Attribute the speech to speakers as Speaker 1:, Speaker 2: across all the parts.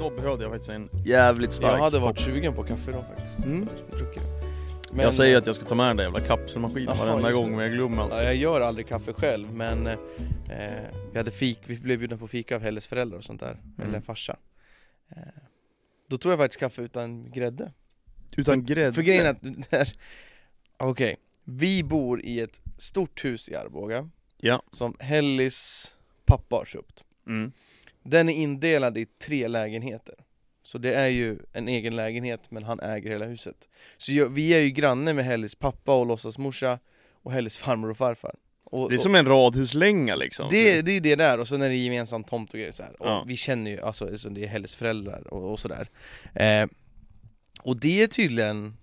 Speaker 1: då behövde jag faktiskt en...
Speaker 2: Jävligt stark
Speaker 1: Jag hade varit
Speaker 2: kopp.
Speaker 1: sugen på kaffe idag faktiskt.
Speaker 2: Mm.
Speaker 1: Druckit. Men-
Speaker 2: Jag säger att jag ska ta med den där jävla kapselmaskinen
Speaker 1: Jaha,
Speaker 2: varenda
Speaker 1: just
Speaker 2: gång
Speaker 1: det.
Speaker 2: men jag glömmer allt.
Speaker 1: Ja, jag gör aldrig kaffe själv men eh, eh, vi, hade fik, vi blev bjudna på fika av Helles föräldrar och sånt där,
Speaker 2: Mm.
Speaker 1: eller farsa. Eh, då tog jag faktiskt kaffe utan grädde.
Speaker 2: Utan grädde?
Speaker 1: För grejen är att, det här- okej, vi bor i ett stort hus i Arboga
Speaker 2: Ja.
Speaker 1: som Hellis pappa har köpt.
Speaker 2: Mm.
Speaker 1: Den är indelad i tre lägenheter. Så det är ju en egen lägenhet men han äger hela huset. Så jag, vi är ju granne med Hellis pappa och låtsasmorsa och Hellis farmor och farfar. Och,
Speaker 2: Det är som en radhuslänga liksom.
Speaker 1: det, det är det där, och sen är det gemensam tomt och grejer så här. Och
Speaker 2: Ja.
Speaker 1: vi känner ju, alltså alltså, det är Helles föräldrar och, och sådär eh, Och det är tydligen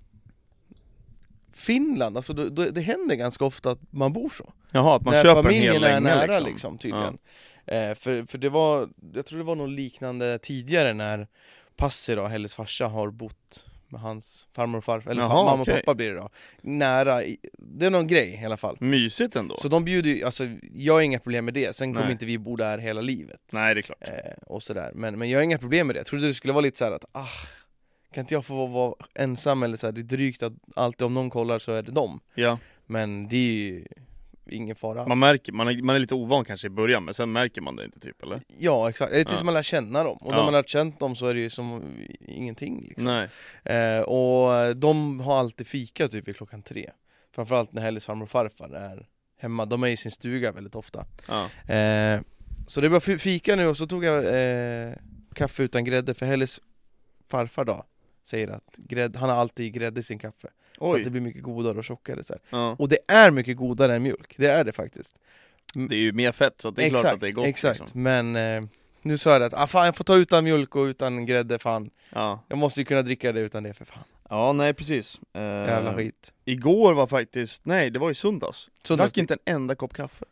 Speaker 1: Finland, alltså då, då, det händer ganska ofta att man bor så
Speaker 2: Jaha, att man
Speaker 1: När
Speaker 2: köper en
Speaker 1: familjen
Speaker 2: hel
Speaker 1: är
Speaker 2: länga
Speaker 1: nära
Speaker 2: liksom.
Speaker 1: liksom, tydligen eh, för, för det var, jag tror det var något liknande tidigare när Passi då, Helles farsa, har bott med hans farmor och farfar, eller
Speaker 2: Jaha,
Speaker 1: fa- mamma och
Speaker 2: okej.
Speaker 1: pappa blir det då Nära, i, det är någon grej i alla fall
Speaker 2: Mysigt ändå.
Speaker 1: så de bjuder ju, alltså jag har inga problem med det, sen kommer
Speaker 2: Nej.
Speaker 1: inte vi bo där hela livet
Speaker 2: Nej det är klart.
Speaker 1: eh, och sådär. Men, men jag har inga problem med det, jag trodde det skulle vara lite så här att ah, kan inte jag få vara, vara ensam eller så här, det är drygt att alltid om någon kollar så är det dem
Speaker 2: Ja.
Speaker 1: Men det är ju ingen fara
Speaker 2: Man märker, man är, man är lite ovan kanske i början men sen märker man det inte typ eller?
Speaker 1: Ja exakt, det är tills
Speaker 2: Ja.
Speaker 1: man lär känna dem, och när
Speaker 2: Ja.
Speaker 1: man lärt känt dem så är det ju som ingenting liksom.
Speaker 2: Nej.
Speaker 1: Eh, och de har alltid fika typ vid klockan tre Framförallt när Helles farmor och farfar är hemma, de är i sin stuga väldigt ofta
Speaker 2: Ja.
Speaker 1: Eh, så det var fi- fika nu och så tog jag eh, kaffe utan grädde för Helles farfar då säger att grädd, han har alltid grädde i sin kaffe för att det
Speaker 2: Oj.
Speaker 1: blir mycket godare och tjockare så här.
Speaker 2: Ja.
Speaker 1: Och det är mycket godare än mjölk, det är det faktiskt
Speaker 2: Det är ju mer fett så att det är klart att det är gott.
Speaker 1: Exakt,
Speaker 2: Liksom.
Speaker 1: men eh, nu sa jag det att ah, fan, jag får ta utan mjölk och utan grädde fan
Speaker 2: Ja.
Speaker 1: Jag måste ju kunna dricka det utan det för fan,
Speaker 2: ja, nej precis. Eh,
Speaker 1: jävla skit
Speaker 2: Igår var faktiskt, nej det var i söndags.
Speaker 1: Söndags-
Speaker 2: Drack inte en enda kopp kaffe.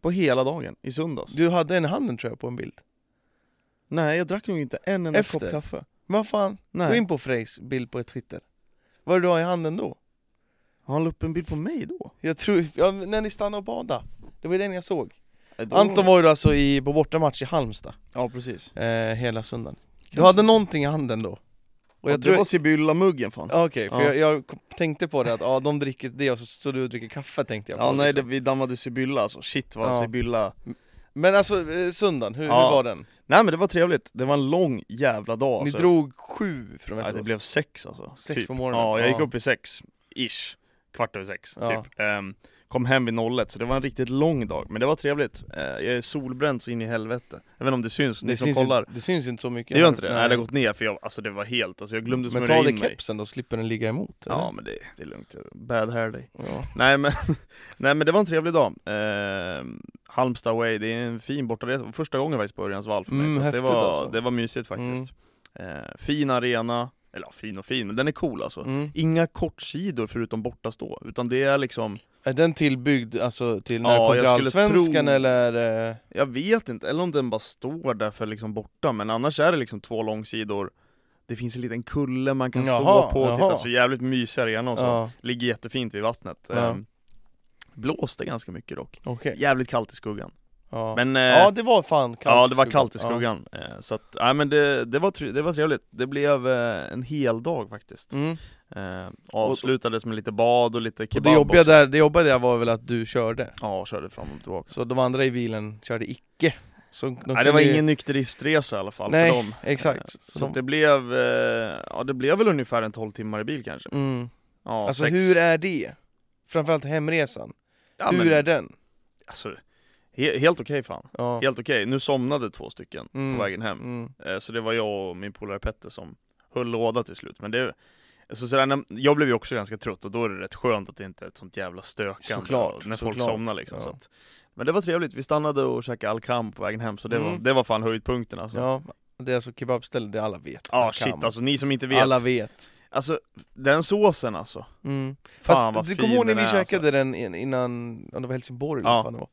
Speaker 2: På hela dagen, i söndags.
Speaker 1: Du hade en i handen tror jag på en bild
Speaker 2: Nej jag drack nog inte en enda
Speaker 1: Efter.
Speaker 2: kopp kaffe.
Speaker 1: Men vad fan, gå
Speaker 2: Nej.
Speaker 1: in på Frejs bild på Twitter Vad är det du har i handen då?
Speaker 2: Har han la upp en bild på mig då?
Speaker 1: Jag tror, ja, när ni stannade och badade Det var den jag såg
Speaker 2: Eh, då-
Speaker 1: Anton var ju alltså i, på bortamatch i Halmstad
Speaker 2: Ja precis.
Speaker 1: eh, hela söndagen Du hade någonting i handen då? Och jag
Speaker 2: det
Speaker 1: tror...
Speaker 2: var Sibylla-muggen fan.
Speaker 1: Ja, Okej, för
Speaker 2: Ja.
Speaker 1: jag, jag kom- tänkte på det att ja, de dricker det och så, så du dricker kaffe tänkte jag på
Speaker 2: Ja nej det,
Speaker 1: liksom.
Speaker 2: vi dammade Sibylla alltså, shit vad
Speaker 1: Ja.
Speaker 2: Sibylla
Speaker 1: Men alltså eh, söndagen, hur,
Speaker 2: Ja.
Speaker 1: hur var den?
Speaker 2: Nej men det var trevligt, det var en lång jävla dag
Speaker 1: Ni
Speaker 2: alltså.
Speaker 1: drog sju från
Speaker 2: ja,
Speaker 1: Västerås?
Speaker 2: det blev sex alltså
Speaker 1: Sex på morgonen?
Speaker 2: Ja, jag gick
Speaker 1: Ja.
Speaker 2: upp vid sex, ish, kvart över sex
Speaker 1: Ja.
Speaker 2: typ Ehm, Kom hem vid 01, så det var en riktigt lång dag, men det var trevligt Eh, Jag är solbränd så in i helvete Jag vet inte om det syns, ni
Speaker 1: det,
Speaker 2: som
Speaker 1: syns
Speaker 2: kollar
Speaker 1: ju, det syns ju inte så mycket
Speaker 2: Det gör inte det? Nej. det har gått ner för jag, alltså det var helt, alltså jag glömde
Speaker 1: Men
Speaker 2: smörja
Speaker 1: ta
Speaker 2: in
Speaker 1: dig
Speaker 2: mig
Speaker 1: kepsen då, slipper den ligga emot eller?
Speaker 2: Ja men det, det är lugnt, jag bad hair day
Speaker 1: ja.
Speaker 2: Nej men, nej men det var en trevlig dag. Eh, Halmstad away, det är en fin bortaresa. Första gången faktiskt på Örjans vall för mig.
Speaker 1: Mm,
Speaker 2: så att det,
Speaker 1: häftigt
Speaker 2: var,
Speaker 1: alltså.
Speaker 2: det var mysigt faktiskt. Eh, fin arena, eller ja, fin och fin, men den är cool alltså.
Speaker 1: Mm.
Speaker 2: Inga kortsidor förutom bortastå, utan det är liksom,
Speaker 1: Är den tillbyggd alltså till
Speaker 2: Ja,
Speaker 1: när ja, kom till
Speaker 2: jag skulle
Speaker 1: Allsvenskan
Speaker 2: tro-
Speaker 1: eller? eh,
Speaker 2: jag vet inte, eller om den bara står där för liksom borta, men annars är det liksom två långsidor. Det finns en liten kulle man kan
Speaker 1: Jaha,
Speaker 2: stå på och titta,
Speaker 1: jaha.
Speaker 2: så jävligt mysig arena och så.
Speaker 1: Ja,
Speaker 2: Ligger jättefint vid vattnet.
Speaker 1: Ja.
Speaker 2: Eh, blåste ganska mycket dock.
Speaker 1: okej
Speaker 2: Jävligt kallt i skuggan.
Speaker 1: ja.
Speaker 2: Men, eh,
Speaker 1: ja det var fan kallt
Speaker 2: ja det var
Speaker 1: i
Speaker 2: kallt i skuggan, Eh, så att, nej men det, det, var tr- det var trevligt, det blev eh, en hel dag faktiskt
Speaker 1: Ja. Mm.
Speaker 2: eh, Avslutades med lite bad och lite
Speaker 1: Och
Speaker 2: kebab
Speaker 1: det jobbiga,
Speaker 2: också.
Speaker 1: där, det jobbiga där var väl att du körde
Speaker 2: Ja, körde fram och tillbaka
Speaker 1: Så de andra i bilen körde icke så de
Speaker 2: Nej det var
Speaker 1: kunde ju-
Speaker 2: ingen nykteristresa i alla fall
Speaker 1: Nej,
Speaker 2: för dem
Speaker 1: Exakt
Speaker 2: Eh, Så,
Speaker 1: Så de-
Speaker 2: att det blev, eh, ja det blev väl ungefär en 12 timmar i bil kanske
Speaker 1: mm.
Speaker 2: ja,
Speaker 1: Alltså
Speaker 2: sex.
Speaker 1: hur är det? Framförallt hemresan,
Speaker 2: ja,
Speaker 1: hur
Speaker 2: men,
Speaker 1: är den?
Speaker 2: Alltså, he- helt okej fan,
Speaker 1: Ja.
Speaker 2: helt okej, nu somnade två stycken
Speaker 1: Mm.
Speaker 2: på vägen hem
Speaker 1: Mm.
Speaker 2: Eh, Så det var jag och min polare Petter som höll låda till slut. Men det, så sådär, när- jag blev ju också ganska trött och då är det rätt skönt att det inte är ett sånt jävla stökande
Speaker 1: Såklart,
Speaker 2: och när folk
Speaker 1: såklart.
Speaker 2: somnar liksom. Så
Speaker 1: Ja.
Speaker 2: att, men det var trevligt, vi stannade och käkade Alcam på vägen hem så det, var,
Speaker 1: Mm.
Speaker 2: det var fan höjdpunkten alltså. Ja.
Speaker 1: Ja, det är alltså kebabställe, det alla vet
Speaker 2: Ah,
Speaker 1: Alla kan.
Speaker 2: shit alltså, ni som inte vet.
Speaker 1: Alla vet
Speaker 2: Alltså den såsen alltså.
Speaker 1: mm.
Speaker 2: Fan
Speaker 1: Fast,
Speaker 2: vad
Speaker 1: Du
Speaker 2: fin
Speaker 1: kommer ihåg när
Speaker 2: den
Speaker 1: vi
Speaker 2: är,
Speaker 1: käkade
Speaker 2: alltså.
Speaker 1: den in- innan, om det var Helsingborg eller
Speaker 2: Ja.
Speaker 1: vad fan det var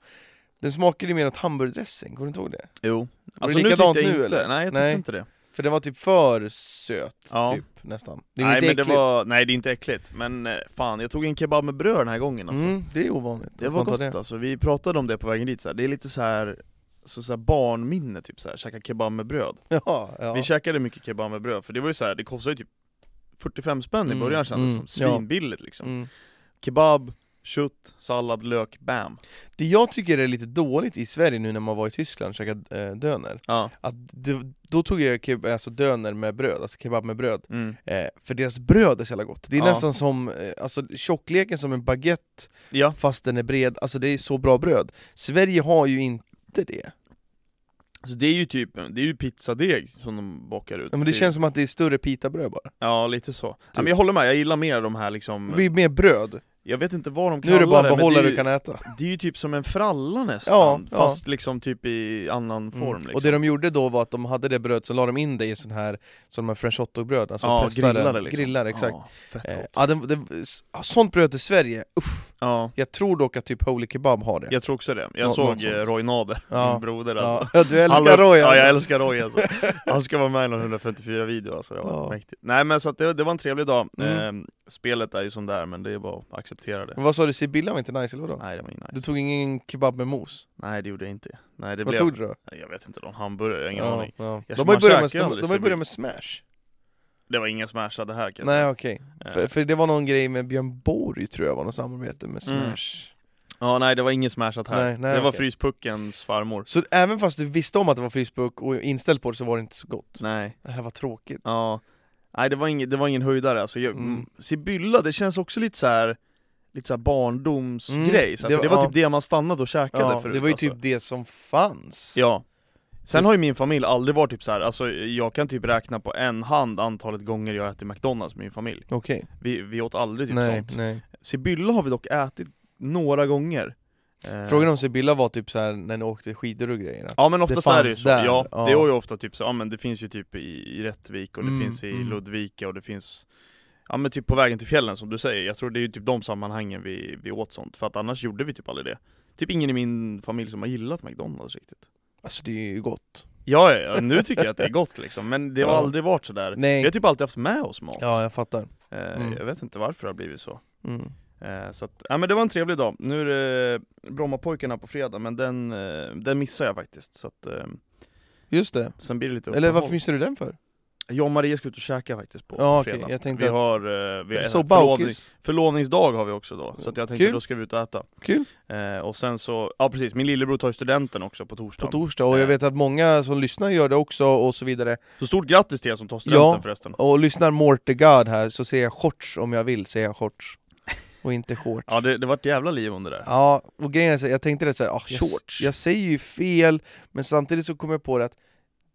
Speaker 1: Den smakade ju mer åt hamburgardressing, kommer du inte ihåg det?
Speaker 2: Jo. Alltså
Speaker 1: det
Speaker 2: nu tyckte
Speaker 1: likadant
Speaker 2: jag inte,
Speaker 1: nu, eller?
Speaker 2: nej jag tyckte
Speaker 1: Nej.
Speaker 2: inte det.
Speaker 1: För den var typ för söt,
Speaker 2: Ja.
Speaker 1: typ nästan Det är
Speaker 2: Nej
Speaker 1: lite
Speaker 2: men det
Speaker 1: äckligt
Speaker 2: var, nej det är inte äckligt. Men eh, fan jag tog en kebab med bröd den här gången alltså.
Speaker 1: mm, Det är ovanligt
Speaker 2: Det
Speaker 1: att
Speaker 2: var
Speaker 1: man tar
Speaker 2: gott alltså, vi pratade om det på vägen dit så här. det är lite så här så så här barnminne, typ så här, käka kebab med bröd.
Speaker 1: Ja, ja.
Speaker 2: Vi käkade mycket kebab med bröd, för det var ju så här, det kostade ju typ 45 spänn i
Speaker 1: Mm,
Speaker 2: början kändes som,
Speaker 1: mm,
Speaker 2: svinbilligt liksom.
Speaker 1: mm.
Speaker 2: Kebab, kött, sallad, lök, bam.
Speaker 1: Det jag tycker är lite dåligt i Sverige nu när man var i Tyskland och käkade eh, döner,
Speaker 2: Ja.
Speaker 1: att det, då tog jag keb- alltså döner med bröd, alltså kebab med bröd,
Speaker 2: Mm.
Speaker 1: eh, för deras bröd är så jävla gott. Det är
Speaker 2: Ja.
Speaker 1: nästan som, eh, alltså tjockleken som en baguette
Speaker 2: ja.
Speaker 1: fast den är bred, alltså det är så bra bröd. Sverige har ju inte det.
Speaker 2: Så det är ju typ, det är ju pizzadeg som de bakar ut.
Speaker 1: Ja, men det känns som att det är större pitabröd bara.
Speaker 2: Ja, lite så.
Speaker 1: Typ.
Speaker 2: Ja, men jag håller med, jag gillar mer de här liksom,
Speaker 1: Det blir mer bröd.
Speaker 2: jag vet inte vad de
Speaker 1: Nu är det bara
Speaker 2: kallar det, men det
Speaker 1: en behållare
Speaker 2: är,
Speaker 1: du
Speaker 2: ju,
Speaker 1: kan äta.
Speaker 2: det är ju typ som en fralla
Speaker 1: Ja,
Speaker 2: nästan,
Speaker 1: ja. Mm,
Speaker 2: fast liksom typ i annan form liksom.
Speaker 1: Och det de gjorde då var att de hade det bröd, så la de in det i sån här, som de här french hotdog-bröden, alltså
Speaker 2: ja,
Speaker 1: pressade-
Speaker 2: grillade liksom.
Speaker 1: grillade, exakt.
Speaker 2: Ja, fett
Speaker 1: Eh,
Speaker 2: gott.
Speaker 1: Ja, det, det, sånt bröd i Sverige, uff.
Speaker 2: Ja,
Speaker 1: Jag tror dock att typ Holy Kebab har det.
Speaker 2: jag tror också det. Jag
Speaker 1: Nå- något
Speaker 2: såg
Speaker 1: sånt.
Speaker 2: eh, Roy Nader,
Speaker 1: Ja.
Speaker 2: min broder alltså.
Speaker 1: ja. Du älskar
Speaker 2: Alla-
Speaker 1: Roy
Speaker 2: Ja,
Speaker 1: alltså.
Speaker 2: jag älskar Roy alltså. Han ska vara med i någon 154 video alltså, det var
Speaker 1: Ja.
Speaker 2: mäktigt. Nej men så att det, det var en trevlig dag.
Speaker 1: Mm.
Speaker 2: Eh, spelet är ju som det är, men det är bara att acceptera det.
Speaker 1: Men vad sa du, Sibylla var inte nice eller vadå?
Speaker 2: Nej det var ju nice.
Speaker 1: Du tog ingen kebab med mos?
Speaker 2: Nej det gjorde jag inte. Nej det
Speaker 1: vad
Speaker 2: blev...
Speaker 1: tog du då?
Speaker 2: Nej, Jag vet inte, någon hamburgare, jag har ingen
Speaker 1: ja,
Speaker 2: aning.
Speaker 1: ja.
Speaker 2: Jag-
Speaker 1: De har
Speaker 2: man
Speaker 1: ju börjat med,
Speaker 2: käkar ju
Speaker 1: de,
Speaker 2: aldrig
Speaker 1: de har ju
Speaker 2: Sibylla.
Speaker 1: börjat med smash
Speaker 2: Det var ingen smashade här kan jag
Speaker 1: Nej
Speaker 2: säga.
Speaker 1: okej,
Speaker 2: Eh,
Speaker 1: för, för det var någon grej med Björn Borg tror jag var något samarbete med smash
Speaker 2: Mm. Ja nej det var ingen smashat här.
Speaker 1: Nej, nej,
Speaker 2: det var
Speaker 1: okej.
Speaker 2: Fryspuckens farmor.
Speaker 1: Så även fast du visste om att det var Facebook och inställd på det så var det inte så gott?
Speaker 2: Nej.
Speaker 1: Det här var tråkigt
Speaker 2: Ja. Nej det var ingen, det var ingen höjdare alltså. Jag,
Speaker 1: Mm.
Speaker 2: Sibylla, det känns också lite så här lite så här barndomsgrej,
Speaker 1: Mm,
Speaker 2: så här,
Speaker 1: det
Speaker 2: för det
Speaker 1: var-
Speaker 2: var
Speaker 1: ja.
Speaker 2: typ det man stannade och käkade
Speaker 1: Ja,
Speaker 2: förut
Speaker 1: det var ju
Speaker 2: alltså.
Speaker 1: typ det som fanns
Speaker 2: Ja Sen
Speaker 1: Just-
Speaker 2: har ju min familj aldrig varit typ så här. alltså jag kan typ räkna på en hand antalet gånger jag ätit McDonalds med min familj
Speaker 1: Okej,
Speaker 2: Vi, vi åt aldrig typ
Speaker 1: nej,
Speaker 2: sånt
Speaker 1: nej
Speaker 2: Sibylla har vi dock ätit några gånger Eh,
Speaker 1: Frågan om Sibylla var typ så här när ni åkte skidor och grejer att-
Speaker 2: Ja men oftast
Speaker 1: det
Speaker 2: är det ju
Speaker 1: fanns
Speaker 2: så,
Speaker 1: där,
Speaker 2: ja,
Speaker 1: ja.
Speaker 2: det är ju ofta typ så, ja men det finns ju typ i, i Rättvik och det
Speaker 1: Mm,
Speaker 2: finns i
Speaker 1: mm.
Speaker 2: Ludvika och det finns Ja men typ på vägen till fjällen som du säger, jag tror det är ju typ de sammanhangen vi, vi åt sånt, för att annars gjorde vi typ aldrig det Typ ingen i min familj som har gillat McDonalds riktigt
Speaker 1: Alltså det är ju gott
Speaker 2: Ja, ja, ja, nu tycker jag att det är gott liksom, men det har
Speaker 1: Ja.
Speaker 2: aldrig varit sådär
Speaker 1: Nej.
Speaker 2: Vi har typ alltid haft med oss mat
Speaker 1: Ja jag fattar
Speaker 2: eh,
Speaker 1: Mm.
Speaker 2: Jag vet inte varför det har blivit så
Speaker 1: mm.
Speaker 2: eh, Så att, ja men det var en trevlig dag Nu är det Brommapojkarna på fredag, men den, eh, den missar jag faktiskt så att, eh,
Speaker 1: Just det,
Speaker 2: Sen blir det lite
Speaker 1: eller
Speaker 2: uppehåll
Speaker 1: varför missade du den för?
Speaker 2: Jag och Maria ska ut och käka faktiskt på
Speaker 1: Ja, okej,
Speaker 2: fredag
Speaker 1: jag tänkte
Speaker 2: Vi
Speaker 1: att-
Speaker 2: har, eh, vi har
Speaker 1: Så
Speaker 2: förlovning,
Speaker 1: Baukis,
Speaker 2: förlovningsdag har vi också då, så att jag tänkte
Speaker 1: Kul.
Speaker 2: då ska vi ut och äta
Speaker 1: Kul.
Speaker 2: eh, Och sen så, ja precis, min lillebror tar ju studenten också på torsdagen
Speaker 1: på torsdag,
Speaker 2: Eh.
Speaker 1: och jag vet att många som lyssnar gör det också och så vidare
Speaker 2: Så stort grattis till er som tar studenten
Speaker 1: Ja.
Speaker 2: förresten
Speaker 1: Och lyssnar Mortegard här så säger jag shorts om jag vill, säger jag shorts Och inte shorts
Speaker 2: Ja det, det vart jävla liv under det
Speaker 1: Ja, och grejen är så här, jag tänkte det såhär, ah, jag,
Speaker 2: Shorts.
Speaker 1: jag säger ju fel, men samtidigt så kommer jag på det att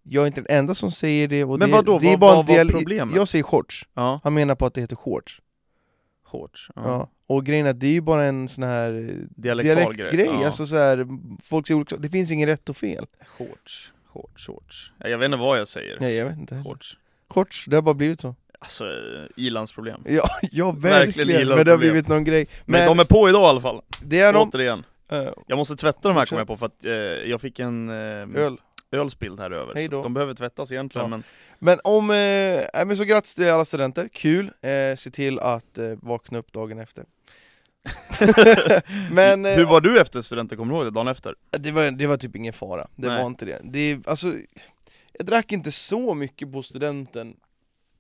Speaker 1: jag är inte den enda som säger det och
Speaker 2: Men
Speaker 1: det,
Speaker 2: vadå?
Speaker 1: det är
Speaker 2: Vad-
Speaker 1: bara
Speaker 2: vad
Speaker 1: en
Speaker 2: var
Speaker 1: del
Speaker 2: problemet?
Speaker 1: Jag säger shorts,
Speaker 2: Ja,
Speaker 1: han menar på att det heter shorts
Speaker 2: shorts. Ja.
Speaker 1: ja. Och grejen är att det är ju bara en sån här eh,
Speaker 2: Dialektal
Speaker 1: dialektgrej,
Speaker 2: grej, ja.
Speaker 1: alltså så här, folk säger olika det finns ingen rätt och fel
Speaker 2: Shorts, shorts, shorts. Ja, Jag vet inte vad jag säger.
Speaker 1: Nej jag vet inte heller.
Speaker 2: Shorts.
Speaker 1: Shorts, det har bara blivit så
Speaker 2: Alltså, eh, i-landsproblem.
Speaker 1: Ja, ja
Speaker 2: Verkligen
Speaker 1: verkligen,
Speaker 2: gillar
Speaker 1: men det har
Speaker 2: problem.
Speaker 1: blivit någon grej
Speaker 2: Men, de är på idag i alla fall,
Speaker 1: det är de,
Speaker 2: återigen.
Speaker 1: eh,
Speaker 2: Jag måste tvätta de här kom
Speaker 1: Fortsätt.
Speaker 2: jag på för att eh, jag fick en eh,
Speaker 1: öl
Speaker 2: ölspill här över.
Speaker 1: Hej
Speaker 2: Så
Speaker 1: då.
Speaker 2: att de behöver tvättas egentligen
Speaker 1: Ja.
Speaker 2: men
Speaker 1: Men om, eh, nej, men så grattis till alla studenter, kul! Eh, se till att eh, vakna upp dagen efter Men eh,
Speaker 2: Hur var du efter studenten, kommer du ihåg det? Dagen efter?
Speaker 1: det, var, det var typ ingen fara, det
Speaker 2: Nej.
Speaker 1: var inte det, det alltså, Jag drack inte så mycket på studenten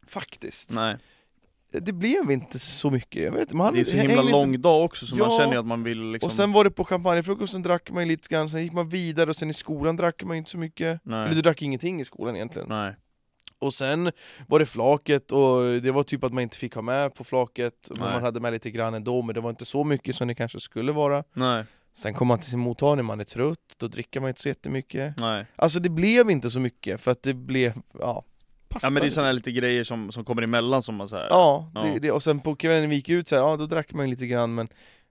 Speaker 1: Faktiskt
Speaker 2: Nej.
Speaker 1: Det blev inte så mycket, jag vet inte, man
Speaker 2: Det är så himla
Speaker 1: hängde
Speaker 2: lång dag också så man
Speaker 1: Ja.
Speaker 2: känner ju att man vill liksom...
Speaker 1: Och sen var det på champagnefrukosten drack man ju lite grann, sen gick man vidare och sen i skolan drack man ju inte så mycket
Speaker 2: Nej.
Speaker 1: Eller du drack ingenting i skolan egentligen
Speaker 2: Nej.
Speaker 1: Och sen var det flaket och det var typ att man inte fick ha med på flaket men
Speaker 2: Nej.
Speaker 1: Man hade med lite grann ändå men det var inte så mycket som det kanske skulle vara
Speaker 2: Nej.
Speaker 1: Sen kom man till sin mottagning, man är trött, då dricker man inte så jättemycket
Speaker 2: Nej.
Speaker 1: Alltså det blev inte så mycket för att det blev, ja
Speaker 2: Ja men det är
Speaker 1: passade.
Speaker 2: sådana här lite grejer som, som kommer emellan som man säger.
Speaker 1: alltså- Ja,
Speaker 2: Ja.
Speaker 1: det, det, och sen på kvällen när vi gick ut så här, ja då drack man lite grann men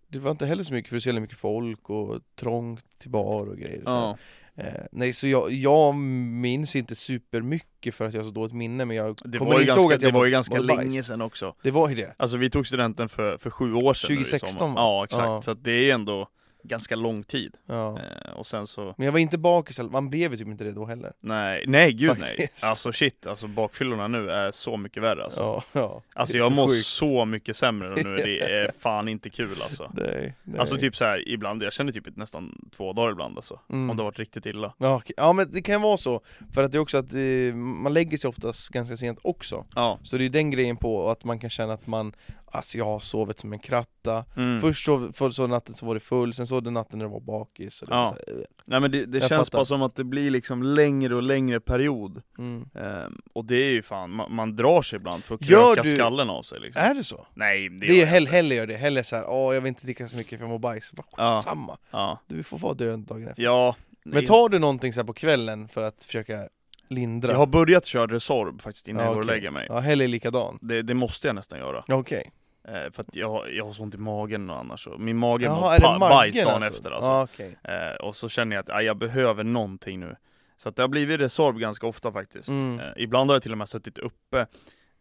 Speaker 1: det var inte heller så mycket för det var så jävla mycket folk och trångt till bar och grejer så här.
Speaker 2: ja.
Speaker 1: Eh, Nej så jag, jag minns inte supermycket för att jag har så dåligt minne men jag
Speaker 2: Det,
Speaker 1: kommer
Speaker 2: var ju,
Speaker 1: inte
Speaker 2: ganska,
Speaker 1: ihåg att jag
Speaker 2: det var ju ganska
Speaker 1: mådde bajs.
Speaker 2: länge sedan också.
Speaker 1: Det var ju det
Speaker 2: Alltså vi tog studenten för, för sju år sedan nu i
Speaker 1: 2016,
Speaker 2: sommar.
Speaker 1: va?
Speaker 2: Ja exakt,
Speaker 1: Ja.
Speaker 2: så att det är ändå ganska lång tid.
Speaker 1: Ja.
Speaker 2: Eh, och sen så,
Speaker 1: Men jag var inte bakis, eller- man blev ju typ inte det då heller
Speaker 2: nej, nej gud
Speaker 1: Faktiskt.
Speaker 2: nej. Alltså shit, alltså bakfyllorna nu är så mycket värre alltså.
Speaker 1: Ja, ja.
Speaker 2: Alltså
Speaker 1: Det är
Speaker 2: jag
Speaker 1: så
Speaker 2: mår
Speaker 1: sjukt.
Speaker 2: så mycket sämre nu, det är fan inte kul alltså.
Speaker 1: Nej, nej.
Speaker 2: Alltså typ så här, ibland, jag känner typ nästan två dagar ibland alltså.
Speaker 1: Mm.
Speaker 2: Om det har varit riktigt illa.
Speaker 1: Ja, okej. ja men det kan vara så, för att det är också att eh, man lägger sig oftast ganska sent också
Speaker 2: Ja.
Speaker 1: Så det är ju den grejen på, och att man kan känna att man, alltså jag har sovit som en kratta
Speaker 2: Mm.
Speaker 1: Först sov, för, så natten så var det full, sen så den natten när det var bakis och det
Speaker 2: Ja.
Speaker 1: var så här, eh,
Speaker 2: Nej men det, det
Speaker 1: Jag
Speaker 2: känns
Speaker 1: fattar.
Speaker 2: bara som att det blir liksom längre och längre period.
Speaker 1: mm.
Speaker 2: Ehm, och det är ju fan, man, man drar sig ibland för att
Speaker 1: Gör
Speaker 2: kröka
Speaker 1: du-
Speaker 2: skallen av sig liksom.
Speaker 1: Är det så?
Speaker 2: Nej, det,
Speaker 1: Det är ju
Speaker 2: gör jag
Speaker 1: hell,
Speaker 2: inte.
Speaker 1: hellre gör det, hellre såhär åh jag vill inte dricka så mycket för jag mår bajs, bara,
Speaker 2: Ja.
Speaker 1: samma
Speaker 2: Ja.
Speaker 1: Du får vara död dagen efter
Speaker 2: ja
Speaker 1: Men tar du någonting så här på kvällen för att försöka lindra?
Speaker 2: Jag har börjat köra Resorb faktiskt innan
Speaker 1: Ja,
Speaker 2: jag går och
Speaker 1: okej.
Speaker 2: lägger mig.
Speaker 1: Ja, Helle är likadan
Speaker 2: Det, det måste jag nästan göra.
Speaker 1: Ja, Okej,
Speaker 2: Eh, för att jag, har- jag har så ont i magen och annars. så- Min mage
Speaker 1: Jaha,
Speaker 2: mår
Speaker 1: är det
Speaker 2: pa- bajs
Speaker 1: magen
Speaker 2: dagen
Speaker 1: alltså?
Speaker 2: efter alltså.
Speaker 1: Ja, okej.
Speaker 2: Eh, och så känner jag att ah, jag behöver någonting nu. Så att det har blivit Resorb ganska ofta faktiskt.
Speaker 1: Mm.
Speaker 2: Eh, ibland har jag till och med suttit uppe.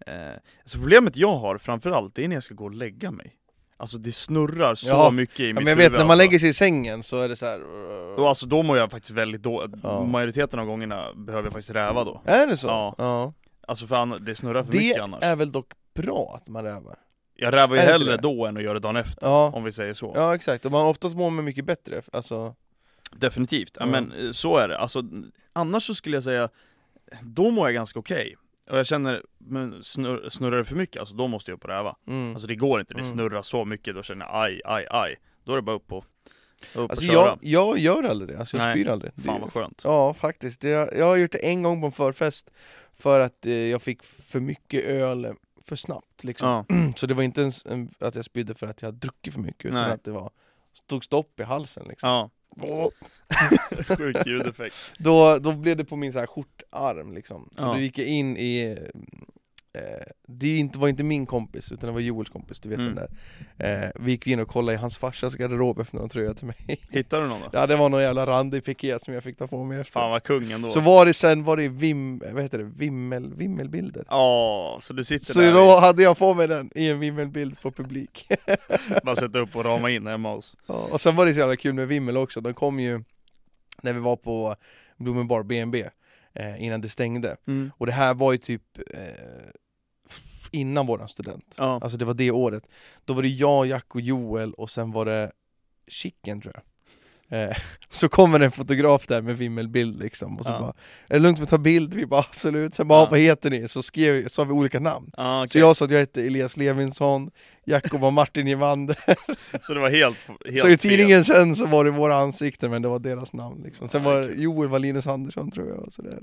Speaker 2: Eh, så problemet jag har framförallt, det är när jag ska gå och lägga mig. Alltså det snurrar så
Speaker 1: Ja.
Speaker 2: mycket i
Speaker 1: Ja,
Speaker 2: mitt
Speaker 1: men jag
Speaker 2: huvud
Speaker 1: vet, när man
Speaker 2: alltså.
Speaker 1: lägger sig i sängen så är det så här.
Speaker 2: Och alltså då mår jag faktiskt väldigt dåligt.
Speaker 1: Ja.
Speaker 2: Majoriteten av gångerna behöver jag faktiskt räva då.
Speaker 1: Är det så?
Speaker 2: Ja.
Speaker 1: ja.
Speaker 2: Alltså för an- det snurrar för
Speaker 1: Det
Speaker 2: mycket annars.
Speaker 1: är väl dock bra att man rävar?
Speaker 2: Jag rävar ju
Speaker 1: är det
Speaker 2: hellre
Speaker 1: inte
Speaker 2: då än att göra det dagen efter,
Speaker 1: Ja,
Speaker 2: om vi säger så.
Speaker 1: ja exakt, och man oftast mår man mycket bättre, alltså
Speaker 2: Definitivt, ja.
Speaker 1: Ja.
Speaker 2: men eh, så är det. Alltså, n- annars så skulle jag säga, då mår jag ganska okej. Och jag känner, men snurr, snurrar det för mycket, alltså då måste jag upp och räva.
Speaker 1: mm.
Speaker 2: Alltså det går inte, det
Speaker 1: Mm.
Speaker 2: snurrar så mycket, då känner jag aj, aj, aj. Då är det bara upp och, upp
Speaker 1: Alltså
Speaker 2: och köra.
Speaker 1: jag, jag gör aldrig det, alltså jag
Speaker 2: Nej.
Speaker 1: spyr aldrig Det-
Speaker 2: Fan vad skönt.
Speaker 1: Ja faktiskt, det, jag har gjort det en gång på en förfest För att eh, jag fick för mycket öl för snabbt liksom
Speaker 2: Ja.
Speaker 1: Så det var inte ens en, att jag spydde för att jag hade druckit för mycket utan
Speaker 2: Nej.
Speaker 1: att det var tog stopp i halsen liksom
Speaker 2: ja. Sjuk ljudeffekt.
Speaker 1: Då, då blev det på min så här skjortarm liksom, så
Speaker 2: Ja.
Speaker 1: då gick jag in i eh, Det är ju inte, var inte min kompis, utan det var Joels kompis, du vet
Speaker 2: Mm.
Speaker 1: den där eh, Vi gick in och kollade i hans farsas garderob efter någon tröja till mig
Speaker 2: Hittar du någon då?
Speaker 1: Ja det var någon jävla randig piké E som jag fick ta på mig efter
Speaker 2: Fan vad kung ändå.
Speaker 1: Så var det sen, var det vim, vad heter det, vimmel, vimmelbilder
Speaker 2: Ja, så du sitter
Speaker 1: Så
Speaker 2: där
Speaker 1: då hade jag på mig den i en vimmelbild på publik
Speaker 2: bara sätter upp och ramar in hemma hos.
Speaker 1: Ja, och sen var det så jävla kul med Vimmel också, de kom ju när vi var på Bloomin Bar B&B eh, innan det stängde. Och det här var ju typ eh, f- innan våran student,
Speaker 2: Ja.
Speaker 1: alltså det var det året. Då var det jag, Jack och Joel och sen var det Chicken tror jag. Eh, så kommer en fotograf där med vimmelbild liksom och så
Speaker 2: Ja.
Speaker 1: bara Är det lugnt med att ta bild? Vi bara absolut, sen bara
Speaker 2: Ja.
Speaker 1: vad heter ni? Så skrev, sa vi olika namn.
Speaker 2: Ah,
Speaker 1: Så jag sa att jag hette Elias Levinsson, Jakob var Martin Evander
Speaker 2: så det var helt, helt
Speaker 1: så i
Speaker 2: fel.
Speaker 1: tidningen sen så var det våra ansikten men det var deras namn liksom. Sen
Speaker 2: Ja, det är
Speaker 1: var Joel var Linus Andersson tror jag och sådär.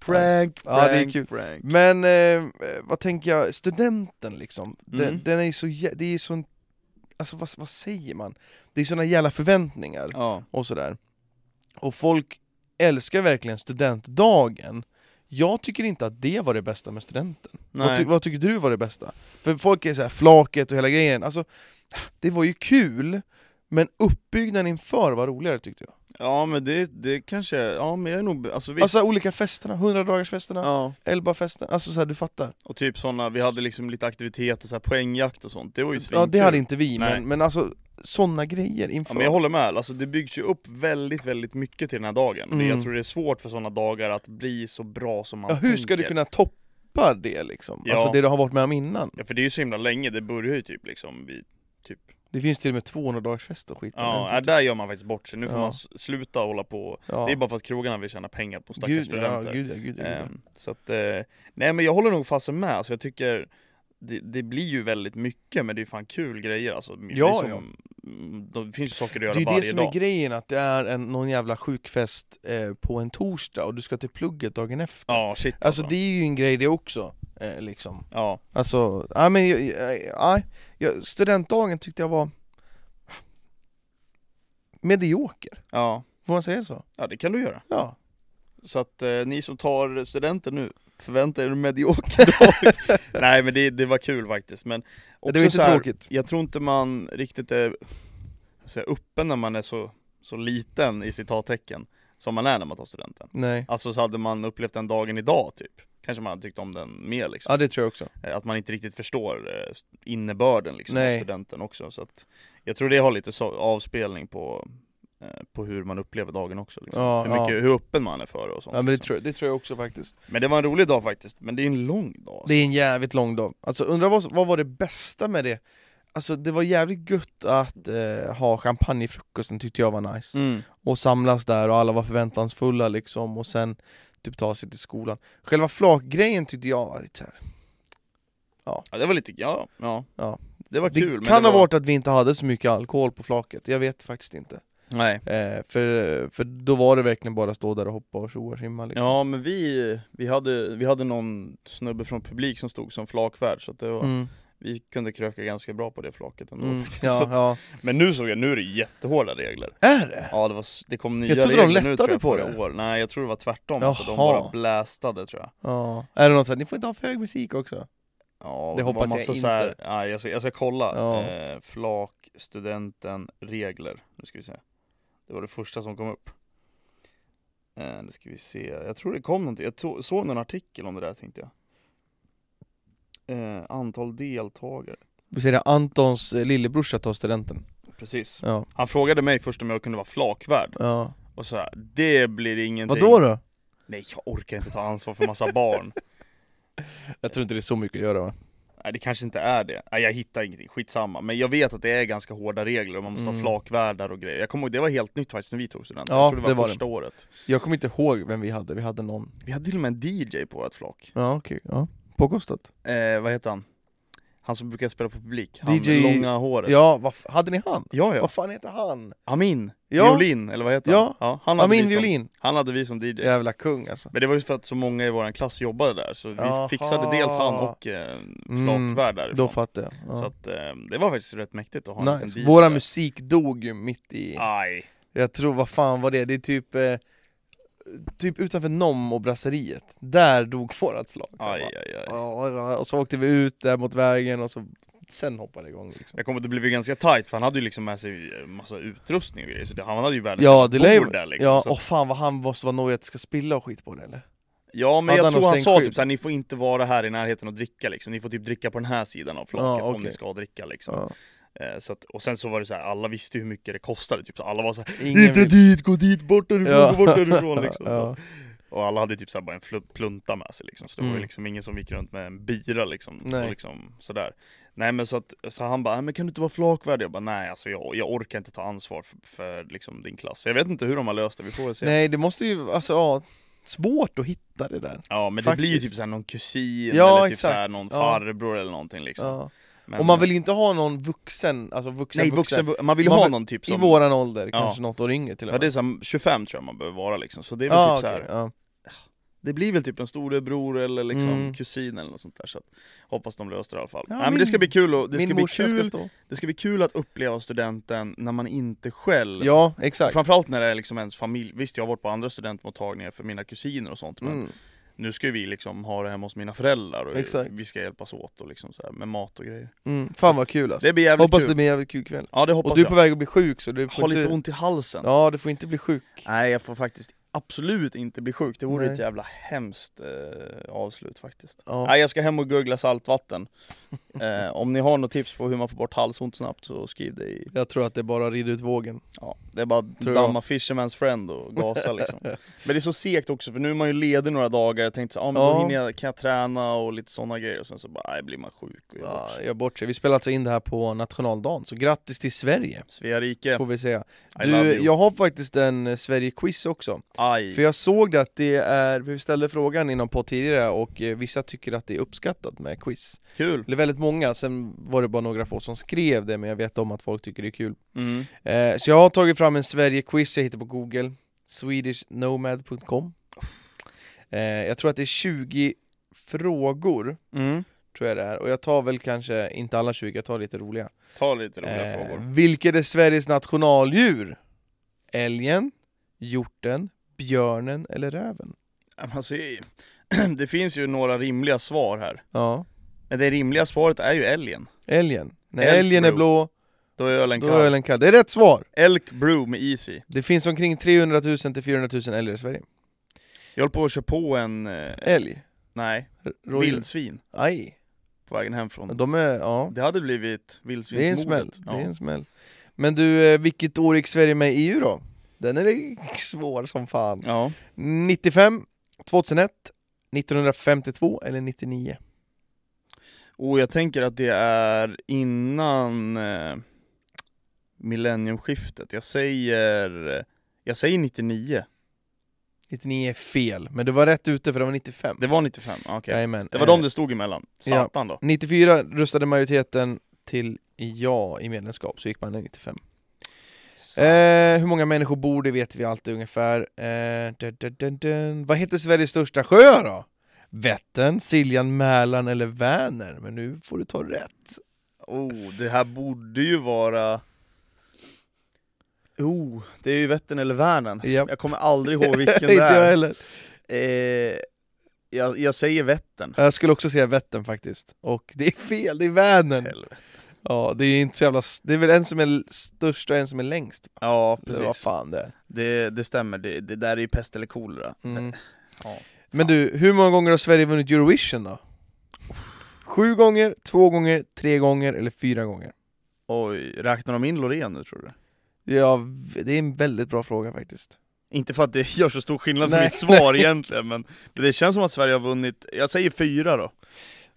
Speaker 2: Prank,
Speaker 1: Ja, det är
Speaker 2: prank,
Speaker 1: kul.
Speaker 2: prank.
Speaker 1: Men eh, vad tänker jag, studenten liksom, den,
Speaker 2: Mm.
Speaker 1: den är ju så, jä- det är ju sån, alltså vad, vad säger man? Det är såna jävla förväntningar
Speaker 2: Ja.
Speaker 1: och sådär. Och folk älskar verkligen studentdagen. Jag tycker inte att det var det bästa med studenten. Vad, ty-
Speaker 2: Nej.
Speaker 1: vad tycker du var det bästa? För folk är så här flaket och hela grejen, alltså det var ju kul, men uppbyggnaden inför var roligare tyckte jag.
Speaker 2: Ja men det, det kanske, ja men jag är nog, alltså visst.
Speaker 1: Alltså olika festerna, 100-dagarsfesterna,
Speaker 2: ja.
Speaker 1: elbafesten, alltså så här, du fattar.
Speaker 2: Och typ sådana, vi hade liksom lite aktiviteter, så här poängjakt och sånt, det var ju
Speaker 1: Alltså, Ja det
Speaker 2: svinkul.
Speaker 1: hade inte vi,
Speaker 2: Nej.
Speaker 1: men, men alltså sådana grejer inför.
Speaker 2: Ja, men jag håller med, alltså det byggs ju upp väldigt, väldigt mycket till den här dagen. Det- Jag
Speaker 1: Mm.
Speaker 2: tror det är svårt för sådana dagar att bli så bra som man
Speaker 1: ja, hur ska du
Speaker 2: tänker.
Speaker 1: kunna toppa det liksom?
Speaker 2: Ja.
Speaker 1: Alltså det du har varit med om innan.
Speaker 2: Ja för det är ju så himla länge, det börjar ju typ liksom vid, typ
Speaker 1: Det finns till och med 200-dagarsfest och skit.
Speaker 2: Ja, ja där gör man faktiskt bort sig, nu får
Speaker 1: typ. Ja.
Speaker 2: man s- sluta hålla på
Speaker 1: ja.
Speaker 2: Det är bara för att krogarna vill tjäna pengar på stackars
Speaker 1: gud,
Speaker 2: studenter
Speaker 1: Ja, gud, ja, gud, ja, gud, ja.
Speaker 2: Ehm, Så att, eh, nej men jag håller nog fasen med, alltså jag tycker det, det blir ju väldigt mycket men det är ju fan kul grejer alltså, det, är
Speaker 1: Ja,
Speaker 2: som, mm, det finns ju saker att göra
Speaker 1: Det är ju
Speaker 2: varje
Speaker 1: det som
Speaker 2: dag
Speaker 1: är grejen, att det är en, någon jävla sjukfest eh, på en torsdag och du ska till plugget dagen efter.
Speaker 2: Ja shit
Speaker 1: Alltså det är ju en grej det också, eh, liksom.
Speaker 2: ja.
Speaker 1: Alltså, nej men, jag- jag- nej. jag- studentdagen tyckte jag var medioker,
Speaker 2: ja,
Speaker 1: får man säga så?
Speaker 2: ja det kan du göra
Speaker 1: Ja.
Speaker 2: Så att eh, ni som tar studenter nu, förvänta er en medioker dag Nej men det, det var kul faktiskt men
Speaker 1: det var inte
Speaker 2: så här,
Speaker 1: tråkigt.
Speaker 2: Jag tror inte man riktigt är så här, öppen när man är så, så liten i citattecken Som man är när man tar studenten
Speaker 1: Nej.
Speaker 2: Alltså så hade man upplevt den dagen idag typ kanske man hade tyckt om den mer liksom.
Speaker 1: Ja det tror jag också.
Speaker 2: Eh, Att man inte riktigt förstår eh, innebörden liksom
Speaker 1: Nej.
Speaker 2: av studenten också. Så att jag tror det har lite så, avspelning på, eh, på hur man upplever dagen också. Liksom.
Speaker 1: Ja,
Speaker 2: hur, mycket, hur öppen man är för det och sånt.
Speaker 1: Ja men det
Speaker 2: liksom.
Speaker 1: tror, det tror jag också faktiskt.
Speaker 2: men det var en rolig dag faktiskt, men det är en lång dag. Alltså.
Speaker 1: Det är en jävligt lång dag. Alltså undrar vad, som- vad var det bästa med det? Alltså det var jävligt gött att eh, ha champagnefrukosten tyckte jag var nice.
Speaker 2: Mm.
Speaker 1: Och samlas där och alla var förväntansfulla liksom och sen typ ta sig till skolan. Själva flakgrejen tyckte jag var lite så här.
Speaker 2: Ja, det var lite, ja, ja.
Speaker 1: Ja.
Speaker 2: Det var
Speaker 1: Det
Speaker 2: kul. men
Speaker 1: kan
Speaker 2: det
Speaker 1: ha
Speaker 2: var...
Speaker 1: varit att vi inte hade så mycket alkohol på flaket, jag vet faktiskt inte.
Speaker 2: Nej.
Speaker 1: Eh, för, för då var det verkligen bara stå där och hoppa och tjoa och simma liksom.
Speaker 2: Ja men vi, vi, hade, vi hade någon snubbe från publik som stod som flakvärd så att det var,
Speaker 1: Mm,
Speaker 2: vi kunde kröka ganska bra på det flaket ändå
Speaker 1: mm,
Speaker 2: faktiskt. Så
Speaker 1: ja,
Speaker 2: att-
Speaker 1: ja.
Speaker 2: Men nu såg jag, nu är det jättehårda regler
Speaker 1: Är det?
Speaker 2: Ja det, var, s- det kom nya
Speaker 1: Jag trodde de
Speaker 2: regler nu,
Speaker 1: lättade
Speaker 2: tror jag,
Speaker 1: på
Speaker 2: förra
Speaker 1: det.
Speaker 2: År. Nej jag tror det var tvärtom,
Speaker 1: Jaha.
Speaker 2: alltså, de bara blästade tror jag
Speaker 1: Ja. Är det något sånt, ni får inte ha för hög musik också?
Speaker 2: ja, och
Speaker 1: Det
Speaker 2: var
Speaker 1: hoppas jag
Speaker 2: massa
Speaker 1: inte.
Speaker 2: så här, ja, jag, ska, jag ska kolla,
Speaker 1: Ja.
Speaker 2: eh, flak, studenten, regler Nu ska vi se Det var det första som kom upp eh, Nu ska vi se, jag tror det kom någonting, jag to- såg någon artikel om det där tänkte jag eh, Antal deltagare
Speaker 1: Vi ser det, Antons eh, lillebrorsa tar studenten.
Speaker 2: Precis,
Speaker 1: Ja.
Speaker 2: han frågade mig först om jag kunde vara flakvärd
Speaker 1: ja.
Speaker 2: och så här, det blir ingenting
Speaker 1: Vadå då?
Speaker 2: Nej jag orkar inte ta ansvar för massa barn
Speaker 1: Jag tror inte det är så mycket att göra va?
Speaker 2: Nej det kanske inte är det, Nej, jag hittar ingenting, skitsamma Men jag vet att det är ganska hårda regler och man måste
Speaker 1: Mm.
Speaker 2: ha flakvärdar och grejer Jag kommer ihåg, det var helt nytt faktiskt när vi tog studenten,
Speaker 1: Ja,
Speaker 2: jag tror det var
Speaker 1: det var
Speaker 2: första året
Speaker 1: Jag kommer inte ihåg vem vi hade, vi hade någon.
Speaker 2: Vi hade till och med en DJ på vårt flak,
Speaker 1: Ja okej, ja. Påkostat.
Speaker 2: eh, vad heter han? Han som brukar spela på publik, han
Speaker 1: DJ
Speaker 2: med långa håret
Speaker 1: Ja, vad f- hade ni han?
Speaker 2: Ja ja,
Speaker 1: Vad fan heter han?
Speaker 2: Amin,
Speaker 1: Ja.
Speaker 2: violin eller vad heter
Speaker 1: Ja.
Speaker 2: han? Ja, han hade
Speaker 1: Amin
Speaker 2: vi som,
Speaker 1: Violin.
Speaker 2: Han hade vi som DJ
Speaker 1: Jävla kung alltså.
Speaker 2: Men det var ju för att så många i vår klass jobbade där så vi
Speaker 1: Jaha. Mm.
Speaker 2: fixade dels han och eh, flakvärd därifrån
Speaker 1: Då fattar jag.
Speaker 2: Så
Speaker 1: Ja.
Speaker 2: att eh, det var faktiskt rätt mäktigt att ha en
Speaker 1: Nice.
Speaker 2: liten DJ
Speaker 1: Våra
Speaker 2: där.
Speaker 1: musik dog ju mitt i...
Speaker 2: Aj,
Speaker 1: Jag tror, vad fan var det? Det är typ, eh, typ utanför Nom och brasseriet, där dog vårat flak Så
Speaker 2: aj,
Speaker 1: jag
Speaker 2: aj, aj.
Speaker 1: bara, "Åh", Och så åkte vi ut där mot vägen och så, sen hoppade det igång liksom.
Speaker 2: Jag kommer att det blev ju ganska tight för han hade ju liksom med sig massa utrustning och grejer så det, han hade ju världens
Speaker 1: Ja
Speaker 2: jävla
Speaker 1: det lär ju,
Speaker 2: bord där liksom
Speaker 1: ja,
Speaker 2: så,
Speaker 1: åh fan vad han måste vara nojig att det ska spilla och skit på det eller?
Speaker 2: ja men
Speaker 1: hade
Speaker 2: jag
Speaker 1: han
Speaker 2: tror
Speaker 1: något
Speaker 2: han sa
Speaker 1: stänkskydd?
Speaker 2: typ såhär, ni får inte vara här i närheten och dricka liksom Ni får typ dricka på den här sidan av flaket
Speaker 1: Ja,
Speaker 2: om
Speaker 1: okej.
Speaker 2: ni ska dricka liksom
Speaker 1: Ja.
Speaker 2: eh, så att, Och sen så var det så här, alla visste ju hur mycket det kostade typ så alla var såhär
Speaker 1: Ingen
Speaker 2: Inte
Speaker 1: vill-
Speaker 2: dit, gå dit, bort därifrån,
Speaker 1: Ja.
Speaker 2: gå bort därifrån liksom så.
Speaker 1: ja.
Speaker 2: att- Och alla hade typ såhär bara en fl- plunta med sig liksom, så det var
Speaker 1: Mm.
Speaker 2: ju liksom ingen som gick runt med en bira liksom,
Speaker 1: Nej.
Speaker 2: och liksom sådär Nej men så att, så han bara, "Nej, men kan du inte vara flakvärd? Jag bara, nej alltså jag, jag orkar inte ta ansvar för, för liksom din klass Jag vet inte hur de har löst det, vi får väl se
Speaker 1: Nej det måste ju, alltså ja, svårt att hitta det där
Speaker 2: Ja men det blir ju
Speaker 1: Faktiskt.
Speaker 2: typ såhär någon kusin
Speaker 1: Ja,
Speaker 2: eller typ
Speaker 1: exakt.
Speaker 2: såhär någon
Speaker 1: Ja.
Speaker 2: farbror eller någonting liksom
Speaker 1: ja.
Speaker 2: men,
Speaker 1: Och man vill ju inte ha någon vuxen, alltså vuxen,
Speaker 2: nej,
Speaker 1: vuxen,
Speaker 2: vuxen, man vill ju
Speaker 1: man
Speaker 2: ha
Speaker 1: vill-
Speaker 2: någon typ
Speaker 1: i
Speaker 2: som
Speaker 1: våran ålder,
Speaker 2: Ja.
Speaker 1: kanske något år yngre till och
Speaker 2: Ja
Speaker 1: med
Speaker 2: det är såhär 25 tror jag man behöver vara liksom, så det är väl
Speaker 1: Ja,
Speaker 2: typ såhär
Speaker 1: okej, ja.
Speaker 2: Det blir väl typ en storebror eller liksom
Speaker 1: Mm.
Speaker 2: kusin eller något sånt där så att, Hoppas de löser det i alla fall.
Speaker 1: Ja,
Speaker 2: Nej, men
Speaker 1: min-
Speaker 2: det ska bli kul och, det ska
Speaker 1: Min
Speaker 2: bli
Speaker 1: morsa ska
Speaker 2: kul,
Speaker 1: stå
Speaker 2: det ska bli kul att uppleva studenten när man inte själv
Speaker 1: Ja, exakt
Speaker 2: Framförallt när det är liksom ens familj, visst jag har varit på andra studentmottagningar för mina kusiner och sånt men
Speaker 1: Mm.
Speaker 2: nu ska ju vi liksom ha det hemma hos mina föräldrar och
Speaker 1: Exakt.
Speaker 2: vi ska hjälpas åt och liksom så här med mat och grejer
Speaker 1: Mm. Fan vad kul alltså
Speaker 2: Det blir jävligt
Speaker 1: Hoppas
Speaker 2: kul!
Speaker 1: det blir en jävligt kul kväll.
Speaker 2: Ja det
Speaker 1: Och
Speaker 2: hoppas
Speaker 1: du är
Speaker 2: jag!
Speaker 1: på väg att bli sjuk så du
Speaker 2: Har
Speaker 1: får
Speaker 2: lite
Speaker 1: inte...
Speaker 2: ont i halsen
Speaker 1: Ja, du får inte bli sjuk.
Speaker 2: Nej jag får faktiskt absolut inte bli sjuk, det vore
Speaker 1: Nej.
Speaker 2: ett jävla hemskt eh, avslut faktiskt
Speaker 1: Ja.
Speaker 2: Nej jag ska hem och googla saltvatten eh, Om ni har något tips på hur man får bort halsont snabbt så skriv det i
Speaker 1: Jag tror att det bara rider ut vågen.
Speaker 2: ja, Det är bara att
Speaker 1: Tror jag.
Speaker 2: damma fisherman's friend och gasa liksom Men det är så segt också för nu är man ju ledig några dagar Jag tänkte så, ah, men
Speaker 1: Ja.
Speaker 2: då hinner jag, kan jag träna och lite sådana grejer och sen så bara, nej blir man sjuk och gör bort
Speaker 1: Ja,
Speaker 2: sig.
Speaker 1: jag bort sig. Vi spelar alltså in det här på nationaldagen, så grattis till Sverige,
Speaker 2: Svea rike,
Speaker 1: får vi säga.
Speaker 2: I love
Speaker 1: Du,
Speaker 2: you
Speaker 1: jag har faktiskt en eh, Sverige-quiz också.
Speaker 2: Aj,
Speaker 1: För jag såg det att det är, vi ställde frågan inom podd tidigare och eh, vissa tycker att det är uppskattat med quiz.
Speaker 2: kul!
Speaker 1: Det är väldigt många, sen var det bara några få som skrev det, men jag vet om att folk tycker det är kul.
Speaker 2: Mm.
Speaker 1: Eh, så jag har tagit fram en Sverige-quiz jag hittar på google Swedishnomad.com eh, Jag tror att det är 20 frågor
Speaker 2: Mm.
Speaker 1: Tror jag det är, och jag tar väl kanske inte alla 20, jag tar lite roliga,
Speaker 2: Ta lite roliga
Speaker 1: eh,
Speaker 2: frågor
Speaker 1: Vilket är Sveriges nationaldjur? Älgen, hjorten, björnen eller räven?
Speaker 2: Ja, men alltså, Det finns ju några rimliga svar här
Speaker 1: Ja,
Speaker 2: Men det rimliga svaret är ju älgen
Speaker 1: älgen När
Speaker 2: Elk
Speaker 1: älgen är
Speaker 2: brew.
Speaker 1: blå,
Speaker 2: Då är ölen
Speaker 1: då är
Speaker 2: kall
Speaker 1: ölen kall Det är rätt svar!
Speaker 2: Elk brew med is i
Speaker 1: Det finns omkring 300 000 till 400 000 älgar i Sverige
Speaker 2: Jag höll på att köra på en eh,
Speaker 1: Älg?
Speaker 2: Nej,
Speaker 1: Rådjur.
Speaker 2: vildsvin
Speaker 1: Aj.
Speaker 2: på vägen hemifrån.
Speaker 1: De är, ja.
Speaker 2: Det hade blivit
Speaker 1: Det är en smäll.
Speaker 2: vildsvinsmordet.
Speaker 1: Det är en smäll. Men du, eh, vilket år gick Sverige med i EU då? Den är svår som fan.
Speaker 2: Ja.
Speaker 1: 95, 2001, 1952 eller 99?
Speaker 2: Och jag tänker att det är innan eh, millenniumskiftet. Jag säger, jag säger 99.
Speaker 1: 99 är fel, men du var rätt ute för det var 95.
Speaker 2: Det var 95, ah, okej.
Speaker 1: Jajamän.
Speaker 2: Det var
Speaker 1: Eh,
Speaker 2: de det stod emellan.
Speaker 1: ja. Eh.
Speaker 2: Satan då.
Speaker 1: 94 röstade majoriteten till ja i medlemskap, så gick man i 95.
Speaker 2: Satan.
Speaker 1: Eh, hur många människor bor det vet vi alltid ungefär. Eh, dun, dun, dun, dun. Vad heter Sveriges största sjö då? Vättern, Siljan, Mälaren eller Vänern? Men nu får du ta rätt.
Speaker 2: Oh, det här borde ju vara... Oh, det är ju Vättern eller Värnen.
Speaker 1: Japp.
Speaker 2: Jag kommer aldrig ihåg vilken det
Speaker 1: Inte jag
Speaker 2: är.
Speaker 1: heller.
Speaker 2: Eh, jag, jag säger Vättern.
Speaker 1: Jag skulle också säga Vättern faktiskt. Och det är fel, det är Vänern.
Speaker 2: Helvete.
Speaker 1: Ja, det är inte så jävla... s- Det är väl en som är l- störst och en som är längst.
Speaker 2: Ja,
Speaker 1: Eller vad
Speaker 2: precis.
Speaker 1: fan det är.
Speaker 2: Det, det stämmer. Det, det där är ju pest eller kolera.
Speaker 1: Mm.
Speaker 2: Ja.
Speaker 1: Men du, hur många gånger har Sverige vunnit Eurovision då? Sju gånger, två gånger, tre gånger eller fyra gånger?
Speaker 2: Oj, räknar de in Loreen nu tror du?
Speaker 1: Ja, v- det är en väldigt bra fråga faktiskt.
Speaker 2: Inte för att det gör så stor skillnad för
Speaker 1: Nej.
Speaker 2: mitt svar egentligen, men, men det känns som att Sverige har vunnit, jag säger fyra då.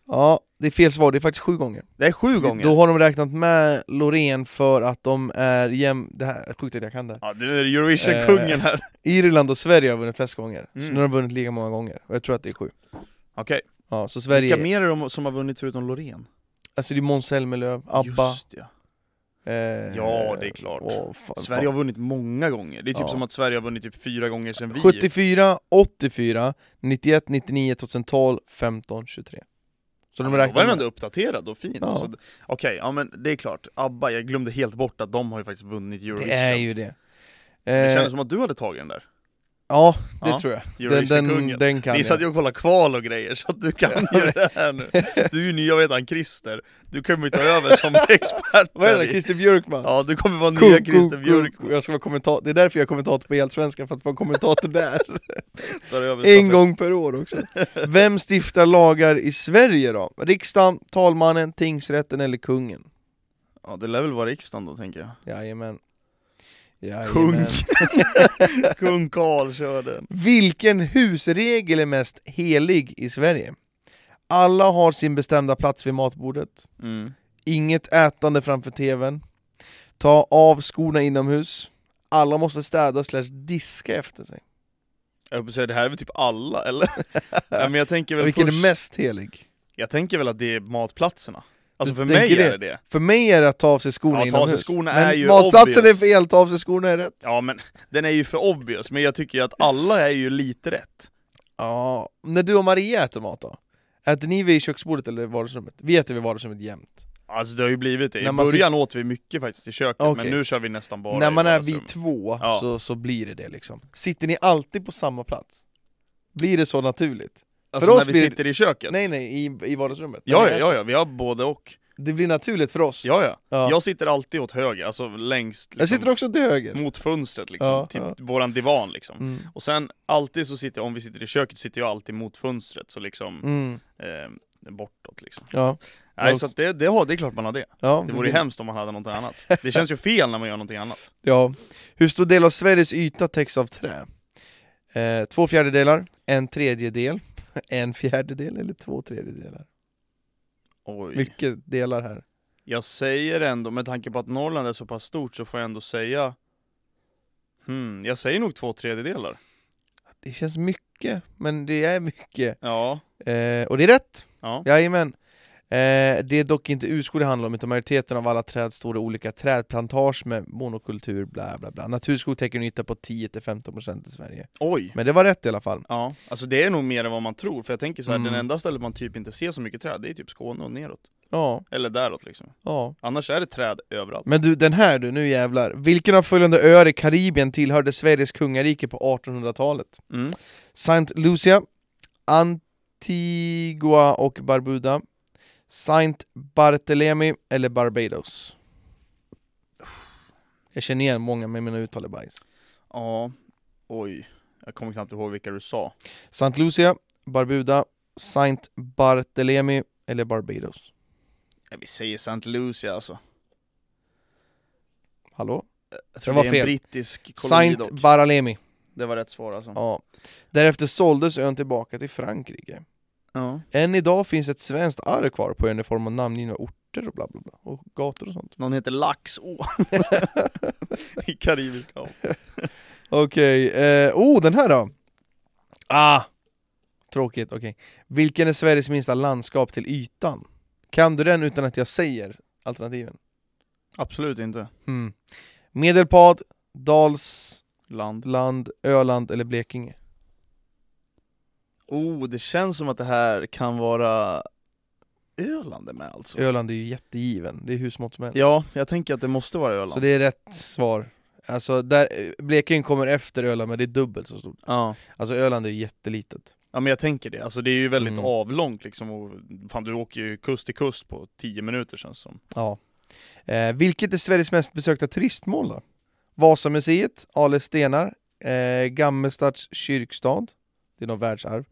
Speaker 1: Ja, det är fel svar, det är faktiskt sju gånger.
Speaker 2: Det är sju gånger!
Speaker 1: Då har de räknat med Loreen för att de är jäm... Det här är sjukt att jag kan det. här.
Speaker 2: Ja, du är
Speaker 1: Eh,
Speaker 2: Eurovision-kungen här.
Speaker 1: Irland och Sverige har vunnit flest gånger, så
Speaker 2: Mm.
Speaker 1: nu har de vunnit lika många gånger. Och jag tror att det är sju.
Speaker 2: Okej,
Speaker 1: Ja, så Sverige...
Speaker 2: vilka mer är de som har vunnit förutom Loreen?
Speaker 1: Alltså det är Måns Zelmerlöw, ABBA...
Speaker 2: Just det.
Speaker 1: Eh,
Speaker 2: Ja, det är klart.
Speaker 1: åh, fan,
Speaker 2: Sverige har vunnit många gånger, det är typ
Speaker 1: Ja.
Speaker 2: som att Sverige har vunnit typ fyra gånger sedan vi...
Speaker 1: 74, 84, 91, 99, 2012, 15, 23.
Speaker 2: Ja,
Speaker 1: Så
Speaker 2: men
Speaker 1: de
Speaker 2: då var
Speaker 1: räknar
Speaker 2: den
Speaker 1: med...
Speaker 2: ändå uppdaterad och fin.
Speaker 1: Ja.
Speaker 2: Alltså, d- Okej, ja men det är klart. ABBA, jag glömde helt bort att de har ju faktiskt vunnit Eurovision.
Speaker 1: Det är ju det.
Speaker 2: Det
Speaker 1: Eh,
Speaker 2: kändes som att du hade tagit den där.
Speaker 1: Ja, det
Speaker 2: Ja,
Speaker 1: tror jag. Den, den,
Speaker 2: Eurovision-kungen.
Speaker 1: den kan
Speaker 2: Ni satt
Speaker 1: jag.
Speaker 2: ju och kollade kval och grejer, så att du kan ju det här nu. Du är ju nya, vad heter han, Christer? Du kommer ju ta över som expert.
Speaker 1: Vad
Speaker 2: där
Speaker 1: heter han?
Speaker 2: i-
Speaker 1: Christer Björkman?
Speaker 2: Ja, du kommer vara
Speaker 1: Ko-
Speaker 2: nya
Speaker 1: ko-
Speaker 2: Christer
Speaker 1: ko-
Speaker 2: Björk.
Speaker 1: ko- Jag ska vara kommentator, det är därför jag är kommentator på Elsvenskan, för att vara kommentator där.
Speaker 2: Tar över
Speaker 1: en
Speaker 2: stafett.
Speaker 1: gång per år också. Vem stiftar lagar i Sverige då? Riksdagen, talmannen, tingsrätten eller kungen?
Speaker 2: Ja, det lär väl vara riksdagen då, tänker jag.
Speaker 1: Jajamän. Jajamän.
Speaker 2: Kung. Kung Karl kör den.
Speaker 1: Vilken husregel är mest helig i Sverige? Alla har sin bestämda plats vid matbordet.
Speaker 2: Mm.
Speaker 1: Inget ätande framför tvn. Ta av skorna inomhus. Alla måste städa slash diska efter sig.
Speaker 2: Jag höll på att säga, det här är väl typ alla, eller? Nej, men jag tänker väl
Speaker 1: Vilken
Speaker 2: först...
Speaker 1: är mest helig?
Speaker 2: Jag tänker väl att det är matplatserna. Alltså
Speaker 1: Du
Speaker 2: för mig
Speaker 1: tänker
Speaker 2: är
Speaker 1: det?
Speaker 2: det det.
Speaker 1: För mig är det att ta av sig skorna
Speaker 2: Ja, ta av sig
Speaker 1: inomhus.
Speaker 2: skorna
Speaker 1: Men
Speaker 2: är ju
Speaker 1: matplatsen
Speaker 2: obvious.
Speaker 1: är fel, ta av sig skorna är rätt.
Speaker 2: Ja men, den är ju för obvious, men jag tycker ju att alla är ju lite rätt.
Speaker 1: Ja. När du och Maria äter mat då? Äter ni vid köksbordet eller vardagsrummet? Vi äter vid vardagsrummet jämt.
Speaker 2: Alltså det har ju blivit det. I
Speaker 1: När man
Speaker 2: början åt vi mycket faktiskt i köket,
Speaker 1: Okej.
Speaker 2: men nu kör vi nästan bara
Speaker 1: När
Speaker 2: i
Speaker 1: man är vi
Speaker 2: vardagsrum.
Speaker 1: två
Speaker 2: Ja.
Speaker 1: så, så blir det det liksom. Sitter ni alltid på samma plats? Blir det så naturligt?
Speaker 2: Alltså
Speaker 1: för
Speaker 2: när
Speaker 1: oss
Speaker 2: vi
Speaker 1: blir-
Speaker 2: sitter i köket?
Speaker 1: Nej nej, i, i vardagsrummet.
Speaker 2: Ja,
Speaker 1: När
Speaker 2: ja,
Speaker 1: ni
Speaker 2: ja,
Speaker 1: äter.
Speaker 2: ja, vi har både och.
Speaker 1: Det blir naturligt för oss.
Speaker 2: Ja, ja.
Speaker 1: Ja.
Speaker 2: Jag sitter alltid åt höger, alltså längst
Speaker 1: Jag
Speaker 2: liksom,
Speaker 1: sitter också till höger.
Speaker 2: mot fönstret liksom,
Speaker 1: Ja,
Speaker 2: till
Speaker 1: ja.
Speaker 2: våran divan liksom.
Speaker 1: Mm.
Speaker 2: Och sen alltid så sitter jag, om vi sitter i köket, sitter jag alltid mot fönstret, så liksom
Speaker 1: Mm.
Speaker 2: eh, bortåt liksom.
Speaker 1: Ja.
Speaker 2: Nej,
Speaker 1: Ja.
Speaker 2: så att det, det, har, det är klart man har det.
Speaker 1: Ja,
Speaker 2: Det vore ju hemskt om man hade någonting annat. Det känns ju fel när man gör någonting annat.
Speaker 1: Ja. Hur stor del av Sveriges yta täcks av trä? Eh, två fjärdedelar, en tredjedel, en fjärdedel eller två tredjedelar?
Speaker 2: Oj.
Speaker 1: Mycket delar här.
Speaker 2: Jag säger ändå, med tanke på att Norrland är så pass stort så får jag ändå säga Hmm, jag säger nog två tredjedelar.
Speaker 1: Det känns mycket, men det är mycket.
Speaker 2: Ja,
Speaker 1: Eh, och det är rätt!
Speaker 2: ja.
Speaker 1: Jajamän. Eh, det är dock inte urskog det handlar om, utan majoriteten av alla träd står i olika trädplantage med monokultur, bla bla bla. Naturskog täcker en yta på 10-15% i Sverige.
Speaker 2: Oj!
Speaker 1: Men det var rätt i alla fall.
Speaker 2: Ja, alltså det är nog mer än vad man tror, för jag tänker så här,
Speaker 1: Mm.
Speaker 2: den enda stället man typ inte ser så mycket träd, det är typ Skåne och neråt.
Speaker 1: Ja,
Speaker 2: Eller däråt liksom.
Speaker 1: ja.
Speaker 2: Annars är det träd överallt.
Speaker 1: Men du, den här du, nu jävlar. Vilken av följande öar i Karibien tillhörde Sveriges kungarike på 1800-talet?
Speaker 2: Mm.
Speaker 1: Saint Lucia, Antigua och Barbuda, Saint Barthélemy eller Barbados? Jag känner igen många, men mina uttal är bajs.
Speaker 2: Ja, oj. Jag kommer knappt ihåg vilka du sa.
Speaker 1: Saint Lucia, Barbuda, Saint Barthélemy eller Barbados?
Speaker 2: Ja, vi säger St. Lucia alltså.
Speaker 1: Hallå?
Speaker 2: Jag
Speaker 1: Det var
Speaker 2: det är
Speaker 1: fel.
Speaker 2: en brittisk koloni dock.
Speaker 1: Saint Barthélemy.
Speaker 2: Det var rätt svar alltså.
Speaker 1: Ja. Därefter såldes ön tillbaka till Frankrike.
Speaker 2: Ja.
Speaker 1: Än idag finns ett svenskt arv kvar på ön i form av namngivna orter och bla bla bla. Och gator och sånt.
Speaker 2: Någon heter Laxå i Karibiska hav.
Speaker 1: Okej, eh, oh den här då! Ah! Tråkigt, okej. Vilken är Sveriges minsta landskap till ytan? Kan du den utan att jag säger alternativen?
Speaker 2: Absolut inte.
Speaker 1: Hmm. Medelpad, Dalsland,
Speaker 2: Land.
Speaker 1: Öland eller Blekinge?
Speaker 2: Oh, det känns som att det här kan vara Öland är med alltså.
Speaker 1: Öland är ju jättegiven, det är hur smått som helst.
Speaker 2: Ja, jag tänker att det måste vara Öland.
Speaker 1: Så det är rätt svar. Alltså, där, eh, Blekinge kommer efter Öland men det är dubbelt så stort.
Speaker 2: ja.
Speaker 1: Alltså Öland är ju jättelitet.
Speaker 2: ja, men jag tänker det. Alltså det är ju väldigt
Speaker 1: Mm.
Speaker 2: avlångt liksom. Och, fan, du åker ju kust till kust på 10 minuter känns som.
Speaker 1: Ja. Eh, vilket är Sveriges mest besökta turistmål då? Vasamuseet, Ale stenar, eh, Gammestads kyrkstad, det är något världsarv,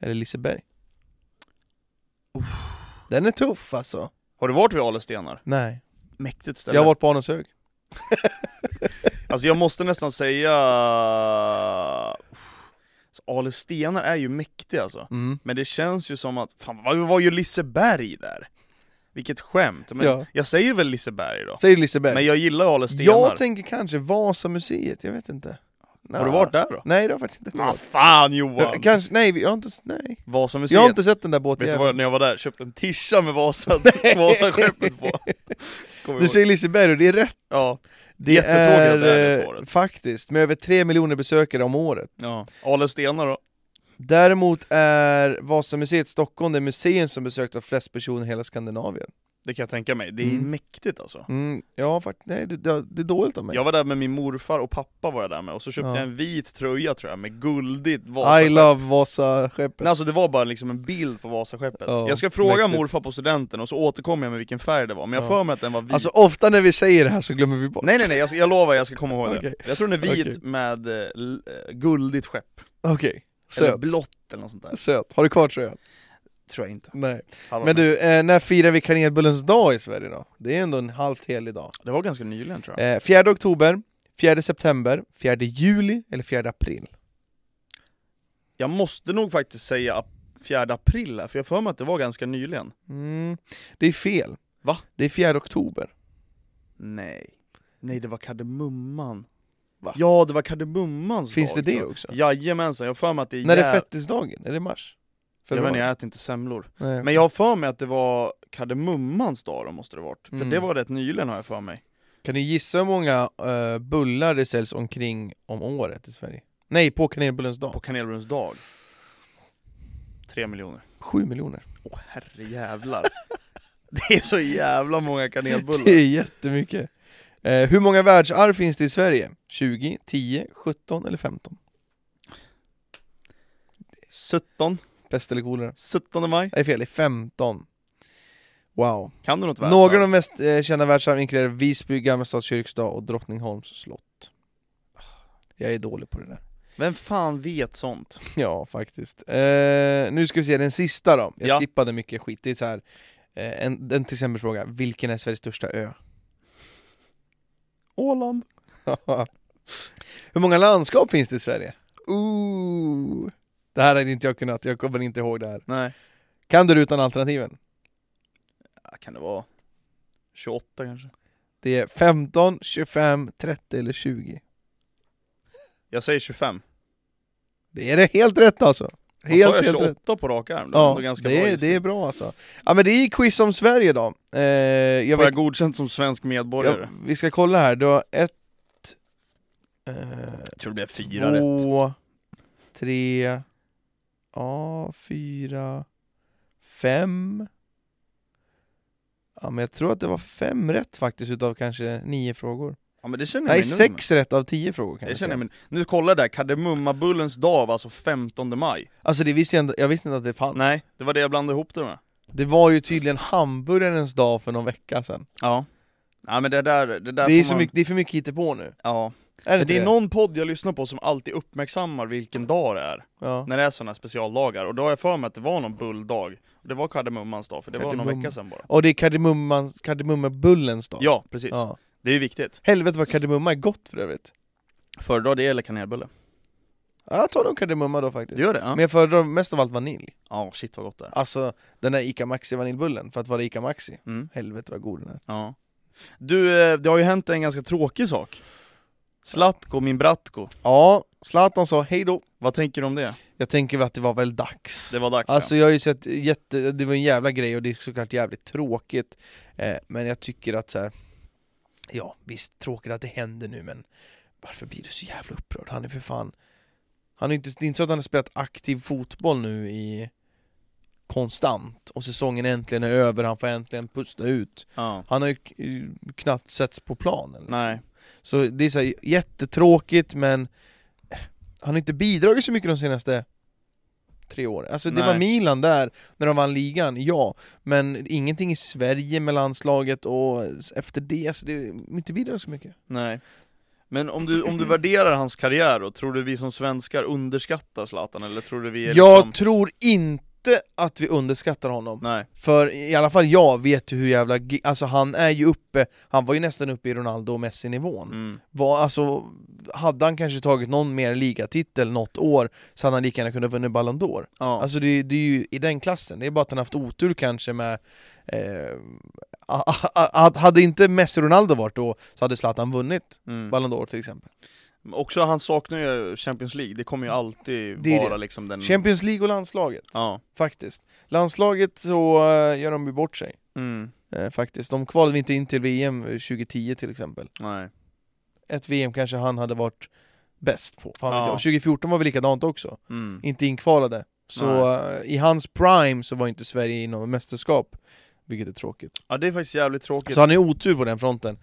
Speaker 1: eller Liseberg. Den är tuff alltså.
Speaker 2: Har du varit vid Ale stenar?
Speaker 1: Nej,
Speaker 2: Mäktigt ställe.
Speaker 1: jag har varit på Anunshög.
Speaker 2: Alltså jag måste nästan säga... Så Ale stenar är ju mäktig alltså.
Speaker 1: Mm.
Speaker 2: Men det känns ju som att, fan vad var ju Liseberg där? Vilket skämt! Men
Speaker 1: Ja.
Speaker 2: Jag säger väl Liseberg då?
Speaker 1: Säger du Liseberg?
Speaker 2: Men jag gillar Ale stenar.
Speaker 1: jag tänker kanske Vasamuseet, jag vet inte.
Speaker 2: Har du
Speaker 1: Nja.
Speaker 2: varit där då?
Speaker 1: Nej det har jag faktiskt inte
Speaker 2: Ah,
Speaker 1: varit.
Speaker 2: fan Johan!
Speaker 1: Jag, kanske, nej, jag har inte, s- nej.
Speaker 2: Vasamuseet.
Speaker 1: Jag har inte sett den där båten.
Speaker 2: Vet du
Speaker 1: jag-
Speaker 2: vad, när jag var där, köpte en tischa med Vasa, Vasaskeppet på. Kommer
Speaker 1: Du
Speaker 2: ihåg.
Speaker 1: säger Liseberg och det är rätt.
Speaker 2: Ja,
Speaker 1: Det
Speaker 2: Jättetråkigt att det här är
Speaker 1: eh,
Speaker 2: svaret.
Speaker 1: faktiskt, med över 3 miljoner besökare om året.
Speaker 2: ja. Ale stenar då?
Speaker 1: Däremot är Vasamuseet Stockholm det museum som besökts av flest personer i hela Skandinavien.
Speaker 2: Det kan jag tänka mig, det är
Speaker 1: Mm.
Speaker 2: mäktigt alltså.
Speaker 1: Mm, ja, faktiskt. Nej, det, det, det är dåligt av mig.
Speaker 2: Jag var där med min morfar och pappa var jag där med, och så köpte
Speaker 1: Ja.
Speaker 2: jag en vit tröja tror jag, med guldigt
Speaker 1: I
Speaker 2: Vasaskepp.
Speaker 1: love Vasaskeppet.
Speaker 2: Nej, alltså det var bara liksom en bild på Vasaskeppet.
Speaker 1: Ja,
Speaker 2: jag ska fråga
Speaker 1: mäktigt.
Speaker 2: morfar på studenten och så återkommer jag med vilken färg det var, men jag
Speaker 1: Ja.
Speaker 2: för mig att den var vit.
Speaker 1: Alltså ofta när vi säger det här så glömmer vi bort.
Speaker 2: Nej nej nej, jag, ska- jag lovar jag ska komma ihåg
Speaker 1: Okej.
Speaker 2: det. Jag tror den är vit
Speaker 1: Okej.
Speaker 2: med eh, l- eh, guldigt skepp,
Speaker 1: Okej,
Speaker 2: eller
Speaker 1: söt.
Speaker 2: blått eller något sånt där.
Speaker 1: söt. Har du kvar tröjan?
Speaker 2: Tror jag inte.
Speaker 1: Nej.
Speaker 2: Hallå,
Speaker 1: Men du, eh, när firar vi kanelbullens dag i Sverige då? Det är ändå en halvt helig dag.
Speaker 2: Det var ganska nyligen tror jag.
Speaker 1: Eh, 4 oktober, 4 september, 4 juli eller 4 april?
Speaker 2: Jag måste nog faktiskt säga ap- 4 april här, för jag har för mig att det var ganska nyligen.
Speaker 1: Mm, det är fel.
Speaker 2: Va?
Speaker 1: Det är 4 oktober.
Speaker 2: Nej. Nej, det var kardemumman.
Speaker 1: Va?
Speaker 2: Ja, det var kardemummans
Speaker 1: Finns
Speaker 2: dag,
Speaker 1: det det
Speaker 2: tror
Speaker 1: också?
Speaker 2: jag. Jajamensan, jag har för mig att det är
Speaker 1: När
Speaker 2: jä-
Speaker 1: är fettisdagen? Är det i mars?
Speaker 2: Jag vet inte,
Speaker 1: Februari?
Speaker 2: jag äter inte semlor.
Speaker 1: Nej.
Speaker 2: Men jag har för mig att det var kardemummans dag då, måste det varit. För
Speaker 1: Mm.
Speaker 2: det var rätt nyligen har jag för mig.
Speaker 1: Kan du gissa hur många eh, bullar det säljs omkring om året i Sverige? Nej, på kanelbullens
Speaker 2: På
Speaker 1: dag.
Speaker 2: kanelbullens dag. Tre miljoner.
Speaker 1: Sju miljoner.
Speaker 2: Åh herre jävlar. det är så jävla många kanelbullar.
Speaker 1: Det är jättemycket. Eh, hur många världsarv finns det i Sverige? 20, 10, 17 eller 15?
Speaker 2: 17,
Speaker 1: Pest eller kolera?
Speaker 2: 17 maj.
Speaker 1: Nej, fel. Det är 15. Wow.
Speaker 2: Kan du något
Speaker 1: Några av de mest eh, kända världsarven inkluderar Visby, Gammelstads kyrkstad och Drottningholms slott. Jag är dålig på det där.
Speaker 2: Vem fan vet sånt?
Speaker 1: Ja, faktiskt. Eh, nu ska vi se den sista då. Jag
Speaker 2: Ja.
Speaker 1: skippade mycket skit. Det är så här, eh, en, en till exempel fråga. Vilken är Sveriges största ö?
Speaker 2: Åland.
Speaker 1: Hur många landskap finns det i Sverige? Ooh. Det här hade inte jag kunnat, jag kommer inte ihåg det här.
Speaker 2: Nej.
Speaker 1: Kan du det utan alternativen?
Speaker 2: Ja, kan det vara 28 kanske?
Speaker 1: Det är 15, 25, 30 eller 20.
Speaker 2: Jag säger 25.
Speaker 1: Det är det helt rätt alltså.
Speaker 2: Helt, jag
Speaker 1: Helt,
Speaker 2: sa jag
Speaker 1: helt rätt.
Speaker 2: 28 på rak arm? Det var
Speaker 1: Ja,
Speaker 2: ändå ganska
Speaker 1: det,
Speaker 2: bra
Speaker 1: är,
Speaker 2: gissat.
Speaker 1: det är bra alltså. Ja men det är quiz om Sverige då. Eh,
Speaker 2: Får
Speaker 1: jag vet,
Speaker 2: jag godkänt som svensk medborgare?
Speaker 1: jag, vi ska kolla här, du har ett... Eh,
Speaker 2: Jag tror det blev
Speaker 1: två, tre, ja, fyra, fem. Ja men jag tror att det var fem rätt faktiskt utav kanske nio frågor.
Speaker 2: Ja men det känner jag
Speaker 1: Nej,
Speaker 2: mig nöjd
Speaker 1: sex rätt av tio frågor kan
Speaker 2: med.
Speaker 1: jag
Speaker 2: Det känner
Speaker 1: säga.
Speaker 2: jag mig... Nu kolla där, kardemummabullens dag var alltså 15 maj.
Speaker 1: Alltså det visste jag, inte, jag visste inte att det fanns.
Speaker 2: Nej, det var det jag blandade ihop det med.
Speaker 1: Det var ju tydligen hamburgarens dag för någon vecka sedan.
Speaker 2: Ja. Nej men det där, det där
Speaker 1: Det är,
Speaker 2: får
Speaker 1: så
Speaker 2: man...
Speaker 1: mycket, det är för mycket hittepå nu.
Speaker 2: Ja.
Speaker 1: Är
Speaker 2: Men
Speaker 1: inte
Speaker 2: det är någon podd jag lyssnar på som alltid uppmärksammar vilken dag det är,
Speaker 1: Ja.
Speaker 2: när det är sådana här specialdagar. Och då har jag för mig att det var någon bulldag. Och det var kardemummans dag, för det var någon
Speaker 1: Kardemumma.
Speaker 2: vecka sedan bara.
Speaker 1: Och det är kardemummans- kardemummabullens dag.
Speaker 2: Ja, precis.
Speaker 1: ja.
Speaker 2: Det är viktigt.
Speaker 1: Helvete vad kardemumma är gott för övrigt.
Speaker 2: Föredrar det eller kanelbulle?
Speaker 1: Ja, jag tar nog kardemumma då faktiskt.
Speaker 2: Gör det? Ja,
Speaker 1: Men jag föredrar mest av allt vanilj.
Speaker 2: ja shit vad gott det är.
Speaker 1: Alltså den där Ica Maxi vaniljbullen, för att vara Ica Maxi.
Speaker 2: Mm.
Speaker 1: Helvete vad god den är.
Speaker 2: Ja. Du, eh, det har ju hänt en ganska tråkig sak. Zlatko, min Bratko.
Speaker 1: Ja, Zlatan sa hej då.
Speaker 2: Vad tänker du om det?
Speaker 1: Jag tänker väl att det var väl dags.
Speaker 2: Det var dags
Speaker 1: Alltså jag har ju sett jätte, det var en jävla grej och det är såklart jävligt tråkigt eh, Men jag tycker att så här. Ja visst, tråkigt att det händer nu men Varför blir du så jävla upprörd? Han är för fan Han är inte, det är inte så att han har spelat aktiv fotboll nu i Konstant och säsongen äntligen är över, han får äntligen pusta ut
Speaker 2: ja. ja.
Speaker 1: Han har ju k- ju knappt setts på planen liksom.
Speaker 2: Nej.
Speaker 1: Så det är så här, jättetråkigt men eh, han har inte bidragit så mycket de senaste tre åren. Alltså det
Speaker 2: Nej.
Speaker 1: var Milan där, när de vann ligan, ja. Men ingenting i Sverige med landslaget och s- efter det, så det har inte bidragit så mycket.
Speaker 2: Nej. Men om du, om du värderar hans karriär då, tror du vi som svenskar underskattar Zlatan eller tror du vi är
Speaker 1: Jag
Speaker 2: liksom...
Speaker 1: tror inte att vi underskattar honom.
Speaker 2: Nej.
Speaker 1: För i alla fall jag vet ju hur jävla... gi- Alltså han är ju uppe, han var ju nästan uppe i Ronaldo och Messi-nivån.
Speaker 2: Mm.
Speaker 1: Var, alltså, hade han kanske tagit någon mer ligatitel något år så hade han lika gärna kunnat vunnit Ballon d'Or.
Speaker 2: Ja.
Speaker 1: Alltså det, det är ju i den klassen, det är bara att han haft otur kanske med... Eh, a- a- a- hade inte Messi och Ronaldo varit då så hade Zlatan vunnit
Speaker 2: mm.
Speaker 1: Ballon d'Or till exempel.
Speaker 2: Också han saknar ju Champions League, det kommer ju alltid
Speaker 1: Det är det.
Speaker 2: vara liksom den...
Speaker 1: Champions League och landslaget,
Speaker 2: Ja. faktiskt.
Speaker 1: Landslaget så eh, gör de ju bort sig.
Speaker 2: Mm.
Speaker 1: Eh, faktiskt, de kvalade inte in till VM 2010 till exempel.
Speaker 2: Nej.
Speaker 1: Ett VM kanske han hade varit bäst på. Fan vet
Speaker 2: Ja.
Speaker 1: jag. 2014 var väl likadant också,
Speaker 2: Mm.
Speaker 1: inte inkvalade. Så eh, i hans prime så var inte Sverige i något mästerskap, vilket är tråkigt.
Speaker 2: Ja det är faktiskt jävligt tråkigt.
Speaker 1: Så han är otur på den fronten.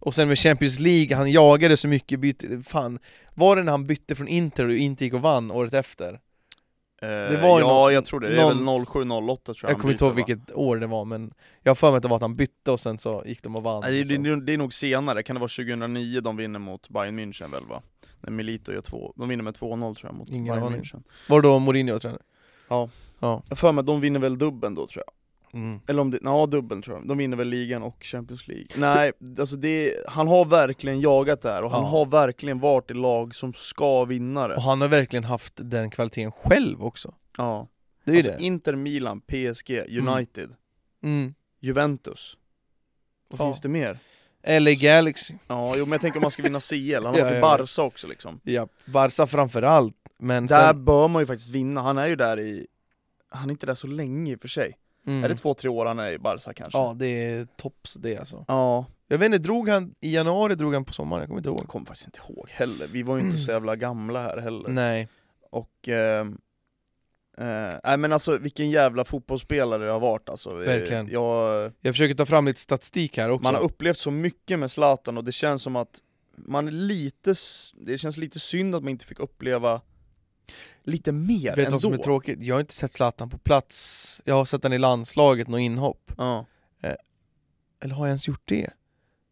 Speaker 1: Och sen med Champions League, han jagade så mycket, bytte, fan. Var det när han bytte från Inter och Inter gick och vann året efter?
Speaker 2: Eh,
Speaker 1: Alltså, det var ju
Speaker 2: ja
Speaker 1: någon-
Speaker 2: jag tror det, det är
Speaker 1: någon-
Speaker 2: väl 07-08 tror jag
Speaker 1: Jag
Speaker 2: han
Speaker 1: kommer inte ihåg
Speaker 2: byter, va?
Speaker 1: vilket år det var men jag har för mig att det var att han bytte och sen så gick de och vann.
Speaker 2: Nej, det,
Speaker 1: och
Speaker 2: det, det är nog senare, kan det vara 2009 de vinner mot Bayern München väl va? När Milito gör två, de vinner med 2-0 tror jag mot
Speaker 1: Ingen
Speaker 2: Bayern
Speaker 1: aning.
Speaker 2: München
Speaker 1: så. Var det då Mourinho tränare?
Speaker 2: Jag har för mig att de vinner väl dubbeln då tror jag,
Speaker 1: Mm.
Speaker 2: eller om det, ja dubbeln tror jag, de vinner väl ligan och Champions League Nej, alltså det, han har verkligen jagat där och han
Speaker 1: Ja.
Speaker 2: har verkligen varit i lag som ska vinna det
Speaker 1: Och han har verkligen haft den kvaliteten själv också.
Speaker 2: Ja,
Speaker 1: Det är ju
Speaker 2: alltså
Speaker 1: det.
Speaker 2: Inter, Milan, PSG, United,
Speaker 1: Mm.
Speaker 2: Juventus Vad
Speaker 1: Ja.
Speaker 2: finns det mer?
Speaker 1: LA Galaxy.
Speaker 2: Ja, jo, men jag tänker om man ska vinna CL, han har
Speaker 1: Ja,
Speaker 2: varit i
Speaker 1: ja, ja.
Speaker 2: Barca också liksom
Speaker 1: Ja, Barca framförallt. Men
Speaker 2: Där
Speaker 1: sen...
Speaker 2: bör man ju faktiskt vinna, han är ju där i... Han är inte där så länge i och för sig.
Speaker 1: Mm.
Speaker 2: Är det två, tre år han är i Barca kanske?
Speaker 1: Ja, det är tops det alltså.
Speaker 2: Ja,
Speaker 1: Jag vet inte, drog han i januari, drog han på sommaren? Jag kommer inte ihåg.
Speaker 2: jag kommer faktiskt inte ihåg heller. Vi var ju inte så jävla gamla här heller.
Speaker 1: Nej.
Speaker 2: Och... ehm, eh, nej men alltså vilken jävla fotbollsspelare det har varit alltså. Eh,
Speaker 1: Verkligen.
Speaker 2: Jag,
Speaker 1: Jag försöker ta fram lite statistik här också.
Speaker 2: man har upplevt så mycket med Zlatan och det känns som att man är lite, s- det känns lite synd att man inte fick uppleva lite mer
Speaker 1: Vet du
Speaker 2: ändå.
Speaker 1: vad som är tråkigt? Jag har inte sett Zlatan på plats, jag har sett han i landslaget, något inhopp.
Speaker 2: ja.
Speaker 1: Eller har jag ens gjort det?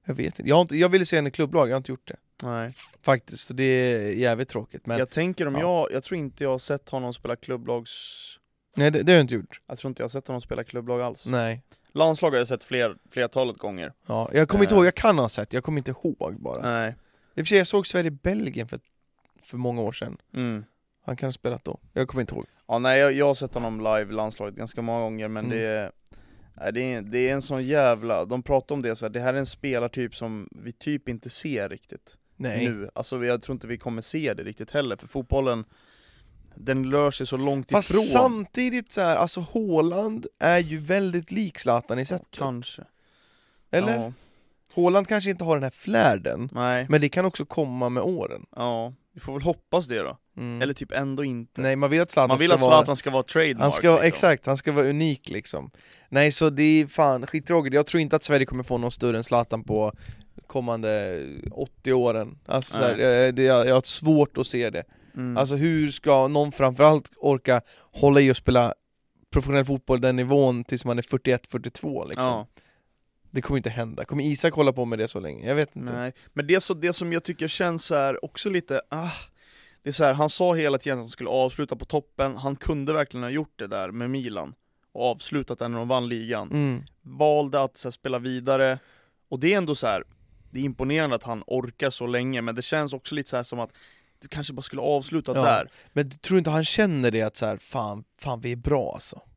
Speaker 1: Jag vet inte. Jag, har inte, jag ville se henne i klubblag, jag har inte gjort det.
Speaker 2: Nej.
Speaker 1: Faktiskt, så det är jävligt tråkigt. Men
Speaker 2: jag tänker om
Speaker 1: ja.
Speaker 2: jag, jag tror inte jag har sett honom spela klubblags...
Speaker 1: nej, det, det har jag inte gjort.
Speaker 2: Jag tror inte jag har sett honom spela klubblag alls.
Speaker 1: Nej.
Speaker 2: Landslag har jag sett fler, flertalet gånger.
Speaker 1: Ja, jag kommer inte
Speaker 2: Eh.
Speaker 1: ihåg, jag kan ha sett, jag kommer inte ihåg bara.
Speaker 2: Nej.
Speaker 1: I och för sig, jag såg Sverige-Belgien för, för många år sedan.
Speaker 2: Mm.
Speaker 1: Han kan ha spelat då. Jag kommer inte ihåg.
Speaker 2: Ja, nej jag, jag har sett honom live i landslaget ganska många gånger men
Speaker 1: Mm.
Speaker 2: det, är- nej, det, är, det är en sån jävla, de pratar om det så här, det här är en spelartyp som vi typ inte ser riktigt
Speaker 1: Nej.
Speaker 2: nu. Alltså jag tror inte vi kommer se det riktigt heller för fotbollen, den rör sig så långt
Speaker 1: Fast
Speaker 2: ifrån.
Speaker 1: samtidigt så här, alltså Haaland är ju väldigt lik Zlatan i sättet.
Speaker 2: Kanske.
Speaker 1: Eller?
Speaker 2: Ja,
Speaker 1: Haaland kanske inte har den här flärden,
Speaker 2: nej,
Speaker 1: men det kan också komma med åren.
Speaker 2: ja. Vi får väl hoppas det då.
Speaker 1: Mm.
Speaker 2: Eller typ ändå inte.
Speaker 1: Nej, man vill att Zlatan
Speaker 2: Man vill alltså
Speaker 1: ska
Speaker 2: att
Speaker 1: vara...
Speaker 2: Zlatan ska vara trademark. liksom.
Speaker 1: Han ska, Exakt, han ska vara unik liksom. Nej, så det är fan skittråkigt. Jag tror inte att Sverige kommer få någon större än Zlatan på kommande 80 åren. Alltså, så här, eh, det, jag, jag har svårt att se det.
Speaker 2: Mm.
Speaker 1: Alltså hur ska någon framförallt orka hålla i och spela professionell fotboll den nivån tills man är 41-42 liksom?
Speaker 2: ja.
Speaker 1: Det kommer inte hända. Kommer Isak hålla på med det så länge? Jag vet inte.
Speaker 2: Nej, men det, så, det som jag tycker känns så här också lite, ah, det är så här, han sa hela tiden att han skulle avsluta på toppen, han kunde verkligen ha gjort det där med Milan och avslutat den när de vann ligan.
Speaker 1: Mm.
Speaker 2: Valde att så här, spela vidare, och det är ändå så här, det är imponerande att han orkar så länge, men det känns också lite så här som att du kanske bara skulle avsluta
Speaker 1: Ja,
Speaker 2: där.
Speaker 1: Men tror du inte han känner det att så här, fan, fan vi är bra alltså. Vi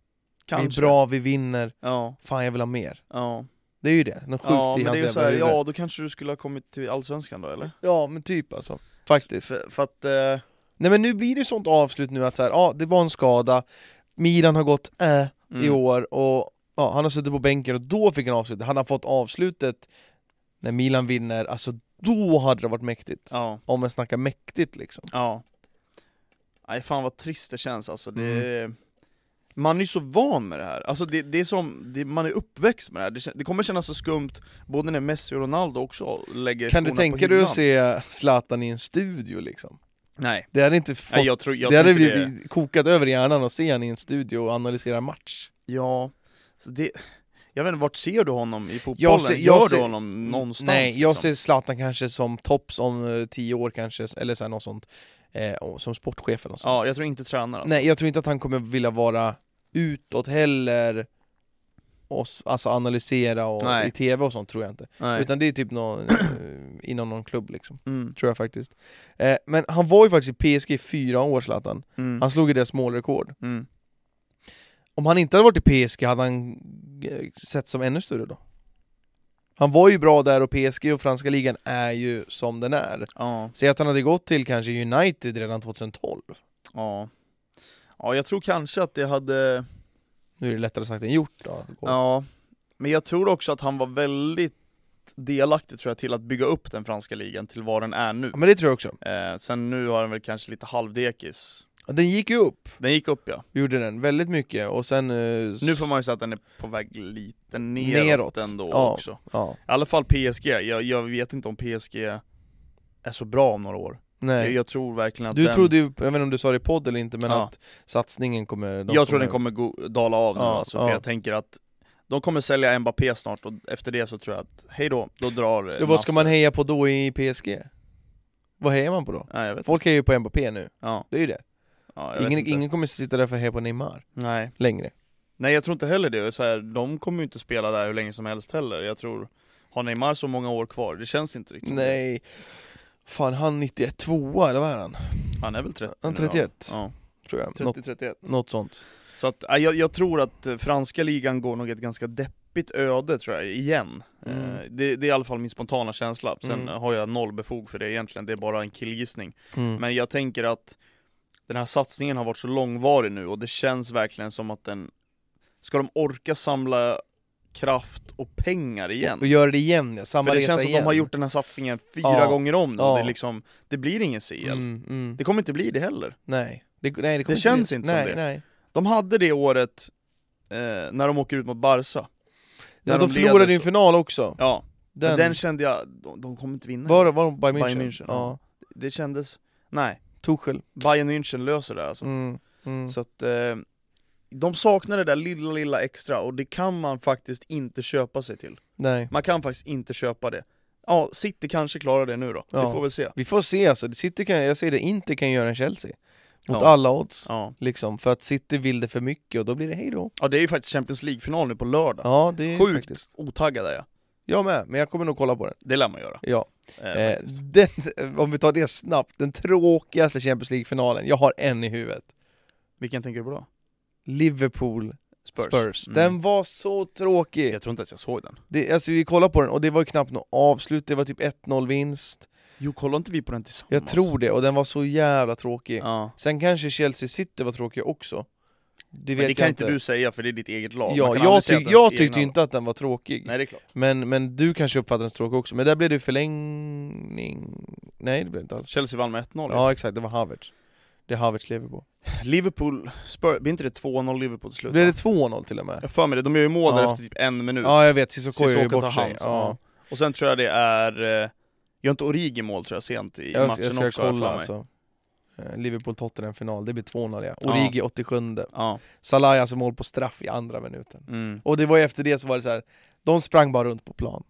Speaker 2: Kanske.
Speaker 1: är bra, vi vinner,
Speaker 2: Ja,
Speaker 1: fan jag vill ha mer.
Speaker 2: ja.
Speaker 1: Det är ju det, något sjukt
Speaker 2: ja
Speaker 1: i
Speaker 2: men det är
Speaker 1: hans
Speaker 2: ju
Speaker 1: jävla
Speaker 2: så här,
Speaker 1: huvud.
Speaker 2: ja då kanske du skulle ha kommit till Allsvenskan då eller?
Speaker 1: ja men typ alltså. Faktiskt.
Speaker 2: För, för att, eh,
Speaker 1: Nej men nu blir det ju sånt avslut nu att så här, ja det var en skada, Milan har gått äh,
Speaker 2: mm.
Speaker 1: i år och ja, han har suttit på bänken och då fick han avslutet. Hade han fått avslutet när Milan vinner, alltså då hade det varit mäktigt.
Speaker 2: Ja.
Speaker 1: Om man snackar mäktigt liksom.
Speaker 2: Ja Nej fan vad trist det känns alltså,
Speaker 1: Mm.
Speaker 2: det... Man är ju så van med det här, alltså det, det är som, det, man är uppväxt med det här, det, kän- det kommer kännas så skumt både när Messi och Ronaldo också lägger
Speaker 1: Kan du
Speaker 2: skorna
Speaker 1: tänka
Speaker 2: på
Speaker 1: dig
Speaker 2: hyllan.
Speaker 1: att se Zlatan i en studio liksom?
Speaker 2: Nej,
Speaker 1: Det hade inte fått
Speaker 2: Nej jag tror, jag
Speaker 1: det
Speaker 2: tror
Speaker 1: hade
Speaker 2: inte det
Speaker 1: blivit kokat över i hjärnan att se han i en studio och analysera match.
Speaker 2: Ja, så det... Jag vet inte, vart ser du honom i fotbollen?
Speaker 1: Jag ser- jag
Speaker 2: Gör
Speaker 1: ser- Mm,
Speaker 2: du honom någonstans?
Speaker 1: Nej, jag
Speaker 2: liksom?
Speaker 1: ser Zlatan kanske som tops om eh, tio år kanske, eller så här, något sånt. Eh, och som sportchef eller något sånt.
Speaker 2: Ja, jag tror inte tränare alltså.
Speaker 1: Nej, jag tror inte att han kommer vilja vara utåt heller, och, s- alltså analysera och
Speaker 2: Nej.
Speaker 1: i tv och sånt tror jag inte.
Speaker 2: Nej.
Speaker 1: Utan det är typ någon, eh, inom någon klubb liksom,
Speaker 2: Mm,
Speaker 1: tror jag faktiskt. Eh, men han var ju faktiskt i PSG i fyra år Zlatan,
Speaker 2: mm,
Speaker 1: han slog ju deras målrekord.
Speaker 2: mm.
Speaker 1: Om han inte hade varit i PSG hade han eh, sett som ännu större då? Han var ju bra där och PSG och franska ligan är ju som den är.
Speaker 2: Ja,
Speaker 1: Säg att han hade gått till kanske United redan 2012.
Speaker 2: ja. Ja, jag tror kanske att det hade...
Speaker 1: Nu är det lättare sagt än gjort då. att gå.
Speaker 2: Ja, men jag tror också att han var väldigt delaktig tror jag till att bygga upp den franska ligan till vad den är nu.
Speaker 1: Ja, men det tror jag också.
Speaker 2: Eh, sen nu har den väl kanske lite halvdekis.
Speaker 1: Ja, Den gick ju upp,
Speaker 2: Den gick upp ja.
Speaker 1: gjorde den, väldigt mycket och sen... eh,
Speaker 2: Nu får man ju säga att den är på väg lite neråt,
Speaker 1: Neråt,
Speaker 2: ändå
Speaker 1: ja.
Speaker 2: också.
Speaker 1: Ja,
Speaker 2: I alla fall PSG, jag, jag vet inte om PSG är så bra om några år. Jag,
Speaker 1: nej.
Speaker 2: jag tror verkligen att
Speaker 1: Du
Speaker 2: den,
Speaker 1: trodde ju, jag vet inte om du sa det i podd eller inte, men
Speaker 2: Ja.
Speaker 1: att satsningen kommer... de
Speaker 2: jag tror den kommer gå, dala av nu
Speaker 1: Ja,
Speaker 2: alltså,
Speaker 1: ja.
Speaker 2: för jag tänker att de kommer sälja Mbappé snart och efter det så tror jag att, hej då, då drar eh,
Speaker 1: Ja, vad ska
Speaker 2: Nasser.
Speaker 1: man heja på då i PSG? Vad hejar man på då?
Speaker 2: Nej jag vet
Speaker 1: Folk hejar ju på Mbappé nu,
Speaker 2: Ja,
Speaker 1: det är ju det.
Speaker 2: ja, jag vet
Speaker 1: Ingen,
Speaker 2: inte.
Speaker 1: ingen kommer sitta där för att heja på Neymar
Speaker 2: Nej.
Speaker 1: längre.
Speaker 2: Nej jag tror inte heller det, så här, de kommer ju inte spela där hur länge som helst heller Jag tror, har Neymar så många år kvar? Det känns inte riktigt som
Speaker 1: Nej. Fan, han 91 tvåa, eller vad är han?
Speaker 2: det. Han är väl 30
Speaker 1: Han
Speaker 2: nu,
Speaker 1: 31,
Speaker 2: Ja,
Speaker 1: tror jag.
Speaker 2: ja
Speaker 1: Något,
Speaker 2: 30-31
Speaker 1: något sånt.
Speaker 2: Så att, ja, jag, jag tror att eh, franska ligan går nog ett ganska deppigt öde tror jag, igen
Speaker 1: Mm.
Speaker 2: eh, det, det är i alla fall min spontana känsla, sen
Speaker 1: Mm.
Speaker 2: har jag noll befog för det egentligen, det är bara en killgissning
Speaker 1: Mm.
Speaker 2: Men jag tänker att den här satsningen har varit så långvarig nu och det känns verkligen som att den Ska de orka samla kraft och pengar igen?
Speaker 1: Och gör det igen, ja. samma
Speaker 2: För det
Speaker 1: resa
Speaker 2: känns som
Speaker 1: igen.
Speaker 2: att de har gjort den här satsningen fyra
Speaker 1: Ja.
Speaker 2: gånger om nu, och
Speaker 1: Ja.
Speaker 2: det, är liksom, det blir ingen CL.
Speaker 1: Mm, mm.
Speaker 2: Det kommer inte bli det heller.
Speaker 1: Nej. Det, nej, det, kommer
Speaker 2: känns
Speaker 1: bli-
Speaker 2: inte som
Speaker 1: nej,
Speaker 2: det.
Speaker 1: Nej.
Speaker 2: De hade det året eh, när de åker ut mot Barca.
Speaker 1: Ja, de,
Speaker 2: leder
Speaker 1: förlorade ju en
Speaker 2: så-
Speaker 1: final också.
Speaker 2: Ja, den,
Speaker 1: Den,
Speaker 2: den kände jag, de, de kommer inte vinna.
Speaker 1: var, var de Bayern München?
Speaker 2: Bayern München,
Speaker 1: ja.
Speaker 2: Det kändes, nej.
Speaker 1: Tuchel.
Speaker 2: Bayern München löser det här alltså.
Speaker 1: Mm. Mm.
Speaker 2: Så att, eh, de saknar det där lilla, lilla extra och det kan man faktiskt inte köpa sig till.
Speaker 1: Nej.
Speaker 2: Man kan faktiskt inte köpa det. Ja, City kanske klarar det nu då.
Speaker 1: Ja.
Speaker 2: Vi får väl se.
Speaker 1: Vi får se alltså, City kan, jag säger det, inte kan göra en Chelsea. Mot
Speaker 2: Ja.
Speaker 1: alla odds.
Speaker 2: Ja.
Speaker 1: Liksom, för att City vill det för mycket och då blir det hej då.
Speaker 2: ja, det är ju faktiskt Champions League-final nu på lördag.
Speaker 1: Ja, det är
Speaker 2: Sjukt.
Speaker 1: faktiskt.
Speaker 2: Otaggad är jag.
Speaker 1: Jag med, men jag kommer nog kolla på den.
Speaker 2: Det lär man göra.
Speaker 1: Ja.
Speaker 2: Eh,
Speaker 1: Eh,
Speaker 2: faktiskt.
Speaker 1: den, om vi tar det snabbt, den tråkigaste Champions League-finalen, jag har en i huvudet.
Speaker 2: Vilken tänker du på då?
Speaker 1: Liverpool Spurs.
Speaker 2: Mm.
Speaker 1: Den var så tråkig!
Speaker 2: Jag tror inte att jag såg den.
Speaker 1: Det, alltså vi kollade på den och det var ju knappt något avslut, det var typ 1-0 vinst.
Speaker 2: Jo, kollade inte vi på den tillsammans?
Speaker 1: Jag tror det, och den var så jävla tråkig.
Speaker 2: Ja.
Speaker 1: Sen kanske Chelsea City var tråkiga också. Det
Speaker 2: Men
Speaker 1: vet
Speaker 2: det kan
Speaker 1: jag
Speaker 2: inte du säga för det är ditt eget lag. Man
Speaker 1: Ja,
Speaker 2: kan
Speaker 1: jag,
Speaker 2: aldrig säga
Speaker 1: tyck,
Speaker 2: att
Speaker 1: jag
Speaker 2: ens egna
Speaker 1: tyckte
Speaker 2: lag-
Speaker 1: inte att den var tråkig.
Speaker 2: Nej, det är klart.
Speaker 1: Men, men du kanske uppfattade den som tråkig också, men där blev det ju förlängning... Nej det blev det inte alls.
Speaker 2: Chelsea vann med 1-0.
Speaker 1: Ja exakt, det var Havertz. Det är Havertz lever på.
Speaker 2: Liverpool, Spurs, blir inte det 2-0 Liverpool till slut?
Speaker 1: Blev
Speaker 2: va?
Speaker 1: det 2-0 till och med?
Speaker 2: Jag för mig det, de gör ju mål
Speaker 1: Ja.
Speaker 2: där efter typ en minut.
Speaker 1: Ja jag vet, Sissoko gör ju
Speaker 2: Sissoko tar
Speaker 1: bort sig.
Speaker 2: hand.
Speaker 1: Ja.
Speaker 2: Ja. Och sen tror jag det är, eh, gör inte Origi mål tror jag sent i
Speaker 1: Jag,
Speaker 2: matchen
Speaker 1: jag ska
Speaker 2: också har jag
Speaker 1: kolla
Speaker 2: för mig.
Speaker 1: alltså. Eh, Liverpool-Tottenham-final, det blir 2-0 ja.
Speaker 2: Ja.
Speaker 1: Origi 87
Speaker 2: Ja,
Speaker 1: Salah alltså mål på straff i andra minuten.
Speaker 2: mm.
Speaker 1: Och det var ju efter det så var det så här. De sprang bara runt på plan.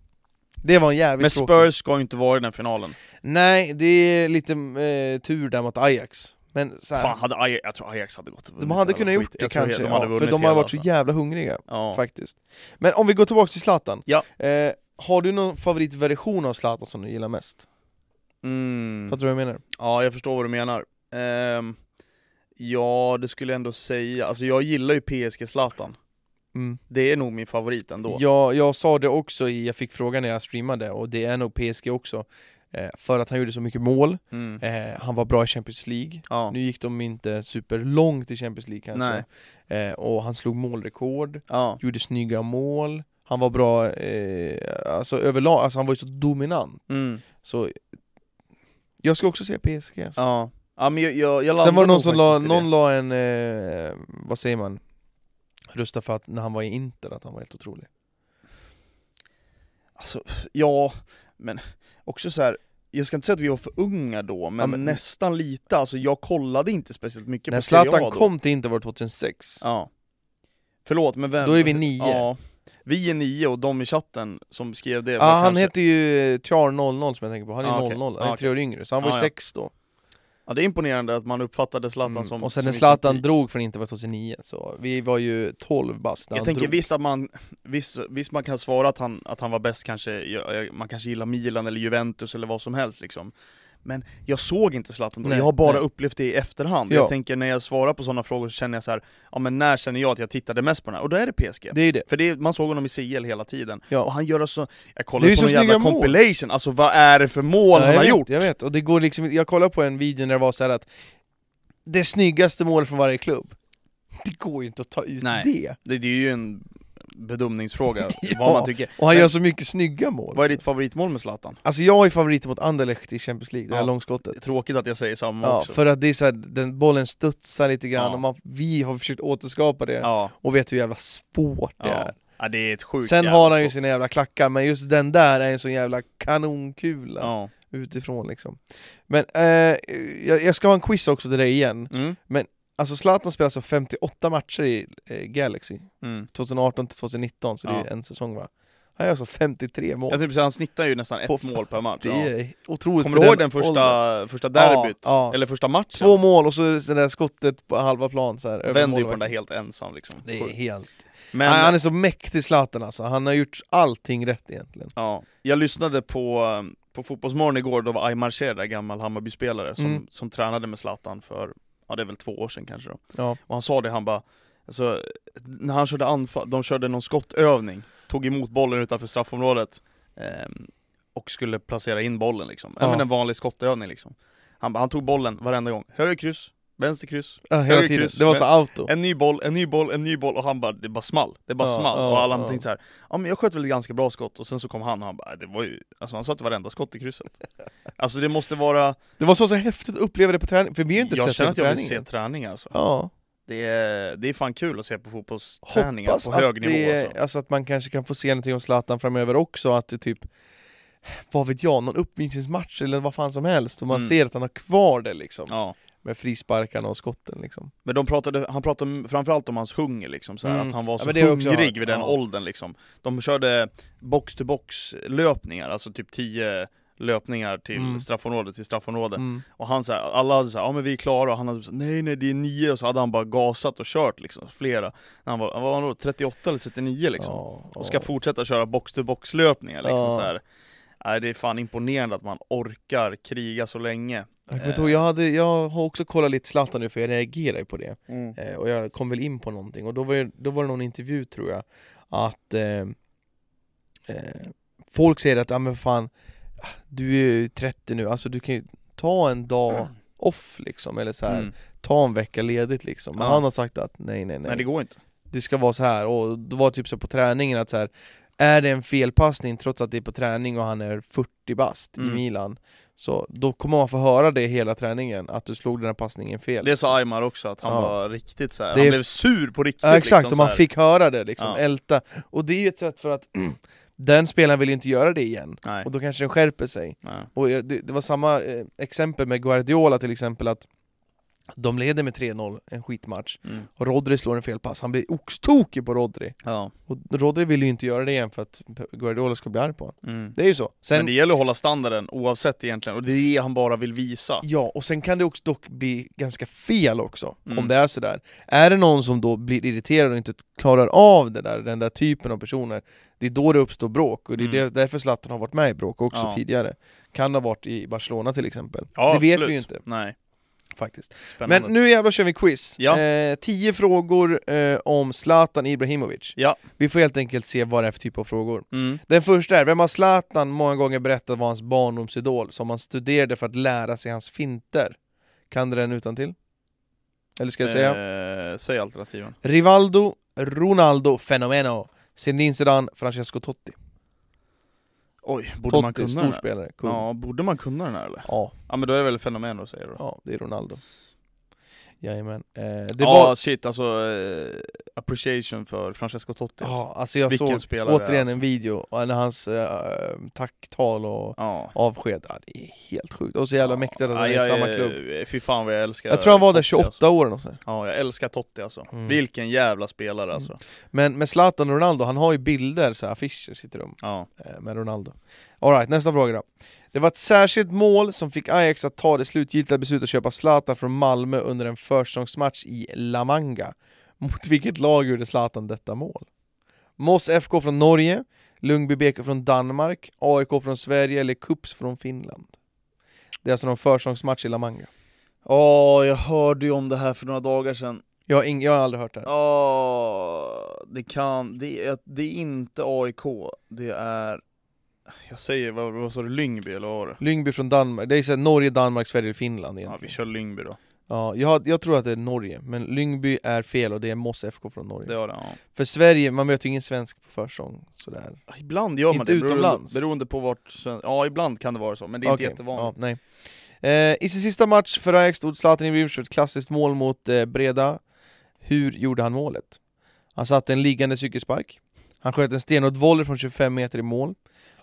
Speaker 1: Det var en jävligt
Speaker 2: Men
Speaker 1: tråkig-
Speaker 2: Spurs ska ju inte vara i den finalen.
Speaker 1: Nej, det är lite eh, tur där mot Ajax. Men så här,
Speaker 2: Fan, hade Ajax, jag tror Ajax hade gått och
Speaker 1: de
Speaker 2: vunnit
Speaker 1: hade
Speaker 2: hela
Speaker 1: kunnat gjort
Speaker 2: skiten.
Speaker 1: det
Speaker 2: Jag tror
Speaker 1: kanske,
Speaker 2: de hade
Speaker 1: ja, för
Speaker 2: vunnit
Speaker 1: de har
Speaker 2: hela,
Speaker 1: varit så
Speaker 2: alltså.
Speaker 1: jävla hungriga
Speaker 2: Ja.
Speaker 1: faktiskt. Men om vi går tillbaka till Zlatan.
Speaker 2: Ja.
Speaker 1: Eh, har du någon favoritversion av Zlatan som du gillar mest?
Speaker 2: Mm.
Speaker 1: Fattar du vad jag menar?
Speaker 2: Ja, jag förstår vad du menar. Ehm, ja, det skulle jag ändå säga. Alltså jag gillar ju PSG Zlatan.
Speaker 1: Mm.
Speaker 2: Det är nog min favorit ändå.
Speaker 1: Jag, jag sa det också, i, jag fick frågan när jag streamade, och det är nog PSG också. Eh, för att han gjorde så mycket mål,
Speaker 2: Mm.
Speaker 1: eh, han var bra i Champions League.
Speaker 2: Ja.
Speaker 1: Nu gick de inte superlångt i Champions League kanske. Eh, och han slog målrekord.
Speaker 2: ja.
Speaker 1: gjorde snygga mål, han var bra, eh, alltså överlag, alltså han var ju så dominant.
Speaker 2: Mm.
Speaker 1: Så jag ska också säga PSG. Alltså.
Speaker 2: ja. Ja, men jag, jag, jag
Speaker 1: Sen
Speaker 2: landar
Speaker 1: var det någon
Speaker 2: nog
Speaker 1: som la,
Speaker 2: faktiskt i det.
Speaker 1: någon la en, eh, vad säger man, rösta för att när han var i Inter att han var helt otrolig.
Speaker 2: Alltså, ja, men också så här. Jag ska inte säga att vi var för unga då, men,
Speaker 1: Ja, men-
Speaker 2: nästan lite. Alltså jag kollade inte speciellt mycket
Speaker 1: När
Speaker 2: på Serie A
Speaker 1: Zlatan
Speaker 2: då.
Speaker 1: kom till Inter var det 2006.
Speaker 2: Ja. Förlåt, men vem?
Speaker 1: Då är vi nio.
Speaker 2: Ja. Vi är nio och de i chatten som skrev det
Speaker 1: Ja,
Speaker 2: var
Speaker 1: Ah, han
Speaker 2: kanske...
Speaker 1: heter ju Char 00 som jag tänker på, han är
Speaker 2: Ja, okej.
Speaker 1: 00, han
Speaker 2: Ja,
Speaker 1: är tre år yngre, så han var
Speaker 2: Ja,
Speaker 1: ju
Speaker 2: ja.
Speaker 1: sex då.
Speaker 2: Ja, det är imponerande att man uppfattade Zlatan
Speaker 1: Mm.
Speaker 2: som
Speaker 1: Och sen
Speaker 2: som
Speaker 1: när
Speaker 2: i sin
Speaker 1: Zlatan
Speaker 2: peak.
Speaker 1: drog från Inter var 2009, så vi var ju 12 bast när
Speaker 2: Jag
Speaker 1: han
Speaker 2: tänker
Speaker 1: drog.
Speaker 2: visst att man, visst, visst man kan svara att han, att han var bäst kanske, jag- jag- man kanske gillar Milan eller Juventus eller vad som helst liksom Men jag såg inte Zlatan då,
Speaker 1: Nej,
Speaker 2: jag har bara
Speaker 1: nej.
Speaker 2: upplevt det i efterhand
Speaker 1: Ja.
Speaker 2: Jag tänker när jag svarar på sådana frågor så känner jag så här, ja men när känner jag att jag tittade mest på den här? Och då är det PSG
Speaker 1: Det är ju det.
Speaker 2: För det, man såg honom i CL hela tiden,
Speaker 1: Ja. alltså-
Speaker 2: och han gör så, jag
Speaker 1: Det är
Speaker 2: kollade
Speaker 1: ju
Speaker 2: på
Speaker 1: så
Speaker 2: någon jävla
Speaker 1: snygga mål.
Speaker 2: compilation, alltså vad är det för mål
Speaker 1: Ja,
Speaker 2: han
Speaker 1: jag
Speaker 2: har
Speaker 1: vet,
Speaker 2: gjort?
Speaker 1: Jag vet, och det går liksom jag kollade på en video när det var så här att det snyggaste målet från varje klubb, det går ju inte att ta ut
Speaker 2: Nej.
Speaker 1: det.
Speaker 2: Det, det är ju en bedömningsfråga,
Speaker 1: Ja.
Speaker 2: vad man tycker
Speaker 1: Och han
Speaker 2: Men-
Speaker 1: gör så mycket snygga mål.
Speaker 2: Vad är ditt favoritmål med Zlatan?
Speaker 1: Alltså jag är favorit mot Anderlecht i Champions League, det här
Speaker 2: Ja.
Speaker 1: långskottet.
Speaker 2: Tråkigt att jag säger samma
Speaker 1: Ja,
Speaker 2: också
Speaker 1: för att det är så här, den bollen studsar lite grann
Speaker 2: Ja.
Speaker 1: och man, vi har försökt återskapa det
Speaker 2: Ja.
Speaker 1: och vet hur jävla svårt det
Speaker 2: Ja.
Speaker 1: är.
Speaker 2: ja, det är ett sjukt
Speaker 1: Sen
Speaker 2: jävla
Speaker 1: har han ju
Speaker 2: skott.
Speaker 1: sina jävla klackar, men just den där är en sån jävla kanonkula
Speaker 2: Ja.
Speaker 1: utifrån liksom. Men eh, jag, jag ska ha en quiz också till dig igen.
Speaker 2: Mm.
Speaker 1: Alltså Zlatan spelade alltså 58 matcher i eh, Galaxy,
Speaker 2: Mm.
Speaker 1: 2018 till 2019, så det
Speaker 2: Ja.
Speaker 1: är en säsäsong va? Han gör alltså 53 mål.
Speaker 2: Jag tänkte säga, han snittar ju nästan ett
Speaker 1: På-
Speaker 2: mål per match.
Speaker 1: Det
Speaker 2: Ja.
Speaker 1: är otroligt
Speaker 2: Kommer
Speaker 1: för
Speaker 2: du ihåg den
Speaker 1: åldern.
Speaker 2: första, första derbyt?
Speaker 1: ja.
Speaker 2: Eller första matchen?
Speaker 1: Två mål och så det där skottet på halva plan så här, över
Speaker 2: Vänder ju på den
Speaker 1: målvakten.
Speaker 2: där helt ensam liksom.
Speaker 1: Det är helt...
Speaker 2: Men,
Speaker 1: Nej, han är så mäktig Zlatan alltså, han har gjort allting rätt egentligen.
Speaker 2: ja. Jag lyssnade på, um, på Fotbollsmorgon igår, då var Aymar Cher där, gammal Hammarby-spelare, som,
Speaker 1: Mm.
Speaker 2: som tränade med Zlatan för, ja det är väl två år sedan kanske då.
Speaker 1: Ja.
Speaker 2: Och han sa det, han bara, alltså, när han körde anfall, de körde någon skottövning, tog emot bollen utanför straffområdet ehm, och skulle placera in bollen liksom.
Speaker 1: Ja.
Speaker 2: Ja. men en vanlig skottövning liksom. Han, bara, han tog bollen varenda gång, höger kryss, vänster kryss,
Speaker 1: Ja, hela
Speaker 2: Höger
Speaker 1: tiden,
Speaker 2: kryss,
Speaker 1: det var så auto.
Speaker 2: en ny boll, en ny boll, en ny boll och han bara, det bara small, det bara
Speaker 1: Ja,
Speaker 2: small.
Speaker 1: ja,
Speaker 2: och alla
Speaker 1: ja.
Speaker 2: ja. tänkte så här, ja men jag sköt väl ett ganska bra skott och sen så kom han och han bara, det var ju, alltså han satte varenda skott i krysset. Alltså det måste vara,
Speaker 1: Det var så, så häftigt att uppleva det på träning, för vi har ju inte
Speaker 2: jag
Speaker 1: sett
Speaker 2: känner
Speaker 1: det
Speaker 2: att
Speaker 1: på
Speaker 2: jag vill se
Speaker 1: träningen.
Speaker 2: träning alltså.
Speaker 1: Ja,
Speaker 2: Det är, det är fan kul att se på fotbollsträningar
Speaker 1: hoppas
Speaker 2: på
Speaker 1: att,
Speaker 2: hög nivå
Speaker 1: det,
Speaker 2: alltså.
Speaker 1: alltså. att man kanske kan få se någonting om Zlatan framöver också, att det typ vad vet jag, någon uppvisningsmatch eller vad fan som helst och man
Speaker 2: Mm.
Speaker 1: ser att han har kvar det liksom
Speaker 2: Ja.
Speaker 1: med frisparkarna och skotten liksom.
Speaker 2: Men de pratade, han pratade om- framförallt om hans hunger liksom, så här,
Speaker 1: Mm.
Speaker 2: att han var
Speaker 1: Ja,
Speaker 2: så
Speaker 1: men det har jag också hört.
Speaker 2: hungrig vid den
Speaker 1: Ja.
Speaker 2: åldern liksom. De körde box-to-box löpningar, alltså typ 10 löpningar till
Speaker 1: Mm.
Speaker 2: straffområde till straffområde.
Speaker 1: Mm.
Speaker 2: Och han så här, alla hade såhär, ja men vi är klara, och han hade så här, nej nej det är nio, och så hade han bara gasat och kört liksom, flera. När han var, vad var han då, 38 eller 39 liksom?
Speaker 1: Ja,
Speaker 2: Och ska fortsätta köra box-to-box löpningar liksom
Speaker 1: Ja.
Speaker 2: så här. Nej, det är fan imponerande att man orkar kriga så länge.
Speaker 1: jag, kommer inte ihåg, jag, hade, jag har också kollat lite Zlatan nu för jag reagerar ju på det eh, och jag kom väl in på någonting och då var, ju- då var det någon intervju tror jag att eh, eh, folk säger att ja men fan du är ju 30 nu, alltså du kan ju ta en dag off liksom eller så här.
Speaker 2: Mm.
Speaker 1: ta en vecka ledigt liksom Men
Speaker 2: Ja.
Speaker 1: han har sagt att nej nej nej,
Speaker 2: Nej det
Speaker 1: det...
Speaker 2: går inte.
Speaker 1: ska vara så här och det var typ så på träningen att så här Är det en felpassning trots att det är på träning och han är 40 bast i
Speaker 2: Mm.
Speaker 1: Milan Så då kommer man få höra det hela träningen, att du slog den här passningen fel
Speaker 2: Det sa Aymar också, att han
Speaker 1: Ja.
Speaker 2: var riktigt så här.
Speaker 1: Det
Speaker 2: han
Speaker 1: är-
Speaker 2: blev sur på riktigt
Speaker 1: Ja exakt,
Speaker 2: liksom,
Speaker 1: och
Speaker 2: så
Speaker 1: man
Speaker 2: här.
Speaker 1: fick höra det liksom,
Speaker 2: Ja.
Speaker 1: älta Och det är ju ett sätt för att den spelaren vill ju inte göra det igen
Speaker 2: Nej,
Speaker 1: Och då kanske den skärper sig
Speaker 2: nej.
Speaker 1: Och jag- det, det var samma eh, exempel med Guardiola till exempel att De leder med 3-0, en skitmatch.
Speaker 3: Mm.
Speaker 1: Och Rodri slår en felpass, han blir oxtokig på Rodri.
Speaker 3: Ja.
Speaker 1: Och Rodri vill ju inte göra det igen för att Pep Guardiola ska bli arg på honom.
Speaker 3: Mm.
Speaker 1: Det är ju så.
Speaker 2: Men
Speaker 1: Sen,
Speaker 2: det gäller att hålla standarden oavsett egentligen, och det är det han bara vill visa.
Speaker 1: Ja, och sen kan det också dock bli ganska fel också,
Speaker 2: Mm.
Speaker 1: om det är sådär. Är det någon som då blir irriterad och inte klarar av det där, den där typen av personer, det är då det uppstår bråk, och det är
Speaker 2: Mm.
Speaker 1: det- därför Zlatan har varit med i bråk också
Speaker 2: Ja.
Speaker 1: tidigare. Kan ha varit i Barcelona till exempel.
Speaker 2: Ja,
Speaker 1: det vet vi
Speaker 2: absolut.
Speaker 1: ju inte
Speaker 2: Nej,
Speaker 1: faktiskt.
Speaker 2: spännande.
Speaker 1: Men nu jävlar kör vi quiz.
Speaker 2: Ja.
Speaker 1: Eh, tio frågor eh, om Zlatan Ibrahimovic.
Speaker 2: Ja.
Speaker 1: Vi får helt enkelt se vad det är för typ av frågor.
Speaker 2: Mm.
Speaker 1: Den första är, vem har Zlatan många gånger berättat var hans barndomsidol som han studerade för att lära sig hans finter? Kan du den utan till? Eller ska jag säga?
Speaker 2: Eh, säg alternativen.
Speaker 1: Rivaldo, Ronaldo, Fenomeno, Zinedine Zidane, Francesco Totti.
Speaker 2: Oj, borde man
Speaker 1: Totti,
Speaker 2: kunna den här?
Speaker 1: storspelare, kung. Ja.
Speaker 2: Ja, borde man kunna den här eller?
Speaker 1: Ja,
Speaker 2: Ja men då är det väl fenomen då säger du? då.
Speaker 1: det är Ronaldo. Jajamän. Eh, det
Speaker 2: Ja
Speaker 1: var...
Speaker 2: shit alltså, eh, appreciation för Francesco Totti alltså.
Speaker 1: Ja, alltså jag
Speaker 2: Vilken
Speaker 1: såg
Speaker 2: spelare
Speaker 1: återigen
Speaker 2: alltså.
Speaker 1: en video, och när hans eh, tacktal och
Speaker 2: Ja.
Speaker 1: avsked, ja, det är helt sjukt. Och så jävla mäktigt att han är i
Speaker 2: jag
Speaker 1: samma klubb.
Speaker 2: Fy fan vad jag älskar
Speaker 1: Jag tror han var där
Speaker 2: Totti,
Speaker 1: 28
Speaker 2: alltså.
Speaker 1: år eller så.
Speaker 2: Ja, jag älskar Totti alltså.
Speaker 1: Mm.
Speaker 2: Vilken jävla spelare alltså.
Speaker 1: Men med Zlatan och Ronaldo, han har ju bilder, så här, affischer i sitt rum
Speaker 2: Ja.
Speaker 1: eh, med Ronaldo. Alright, nästa fråga då. Det var ett särskilt mål som fick Ajax att ta det slutgiltiga beslutet att köpa Zlatan från Malmö under en försäsongsmatch i La Manga. Mot vilket lag gjorde Zlatan detta mål? Moss FK från Norge, Ljungby BK från Danmark, AIK från Sverige eller Kups från Finland? Det är alltså någon försäsongsmatch i La Manga.
Speaker 2: Åh, jag hörde ju om det här för några dagar sedan.
Speaker 1: Jag har, ing- jag har aldrig hört det här.
Speaker 2: Åh, det kan, det är, det är inte AIK, det är... Jag säger, vad, vad sa du, Lyngby eller vad var det?
Speaker 1: Ljungby från Danmark, det är så här Norge, Danmark, Sverige, Finland
Speaker 2: Ja,
Speaker 1: egentligen.
Speaker 2: vi kör Lyngby då.
Speaker 1: Ja, jag, jag tror att det är Norge, men Lyngby är fel och det är Moss FK från Norge.
Speaker 2: Det var det, ja.
Speaker 1: För Sverige, man möter ju ingen svensk på försång sådär.
Speaker 2: Ibland gör man
Speaker 1: Inte
Speaker 2: det, beroende-
Speaker 1: utomlands.
Speaker 2: beroende på vart... sven- Ja, ibland kan det vara så, men det är
Speaker 1: Okej,
Speaker 2: inte jättevanligt.
Speaker 1: Ja, nej. Eh, I sin sista match för Ajax stod Zlatan Ibrahimovic för ett klassiskt mål mot eh, Breda. Hur gjorde han målet? Han satte en liggande cykelspark. Han sköt en stenhård volley från 25 meter i mål.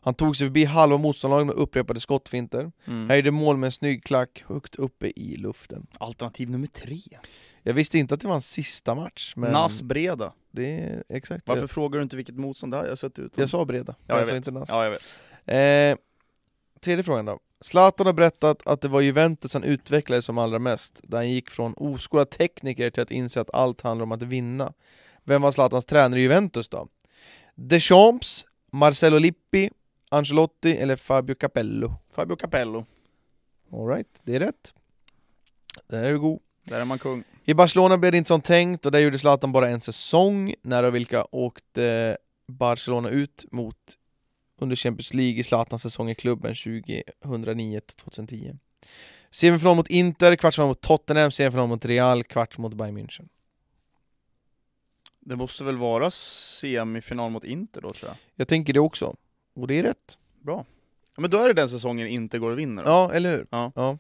Speaker 1: Han tog sig förbi halva motståndarlaget med upprepade skottfinter.
Speaker 2: Mm.
Speaker 1: Han gjorde mål med en snygg klack högt uppe i luften.
Speaker 2: Alternativ nummer tre.
Speaker 1: Jag visste inte att det var hans sista match, men...
Speaker 2: Nas Breda.
Speaker 1: Det är exakt.
Speaker 2: Varför
Speaker 1: Jag,
Speaker 2: frågar du inte vilket motstånd det här? Jag har sett ut.
Speaker 1: jag sa Breda,
Speaker 2: jag
Speaker 1: jag, sa
Speaker 2: vet.
Speaker 1: inte Nas.
Speaker 2: Ja, jag vet.
Speaker 1: Eh, tredje frågan då. Zlatan har berättat att det var Juventus han utvecklades som allra mest, där han gick från oskolad tekniker till att inse att allt handlar om att vinna. Vem var Zlatans tränare i Juventus då? Deschamps, Marcello Lippi, Ancelotti eller Fabio Capello?
Speaker 2: Fabio Capello.
Speaker 1: Alright, det är rätt. Den är god.
Speaker 2: Där är man kung.
Speaker 1: I Barcelona blev det inte som tänkt och där gjorde Zlatan bara en säsong. Nära vilka åkte Barcelona ut mot under Champions League i Zlatans säsong i klubben 2009-2010. Semifinal mot Inter, kvartsfinal mot Tottenham, semifinal mot Real, kvart mot Bayern München.
Speaker 2: Det måste väl vara semifinal mot Inter då tror jag.
Speaker 1: Jag tänker det också. Och det är rätt.
Speaker 2: Ja, men då är det den säsongen Inter går och vinner då.
Speaker 1: Ja, eller hur?
Speaker 2: Ja.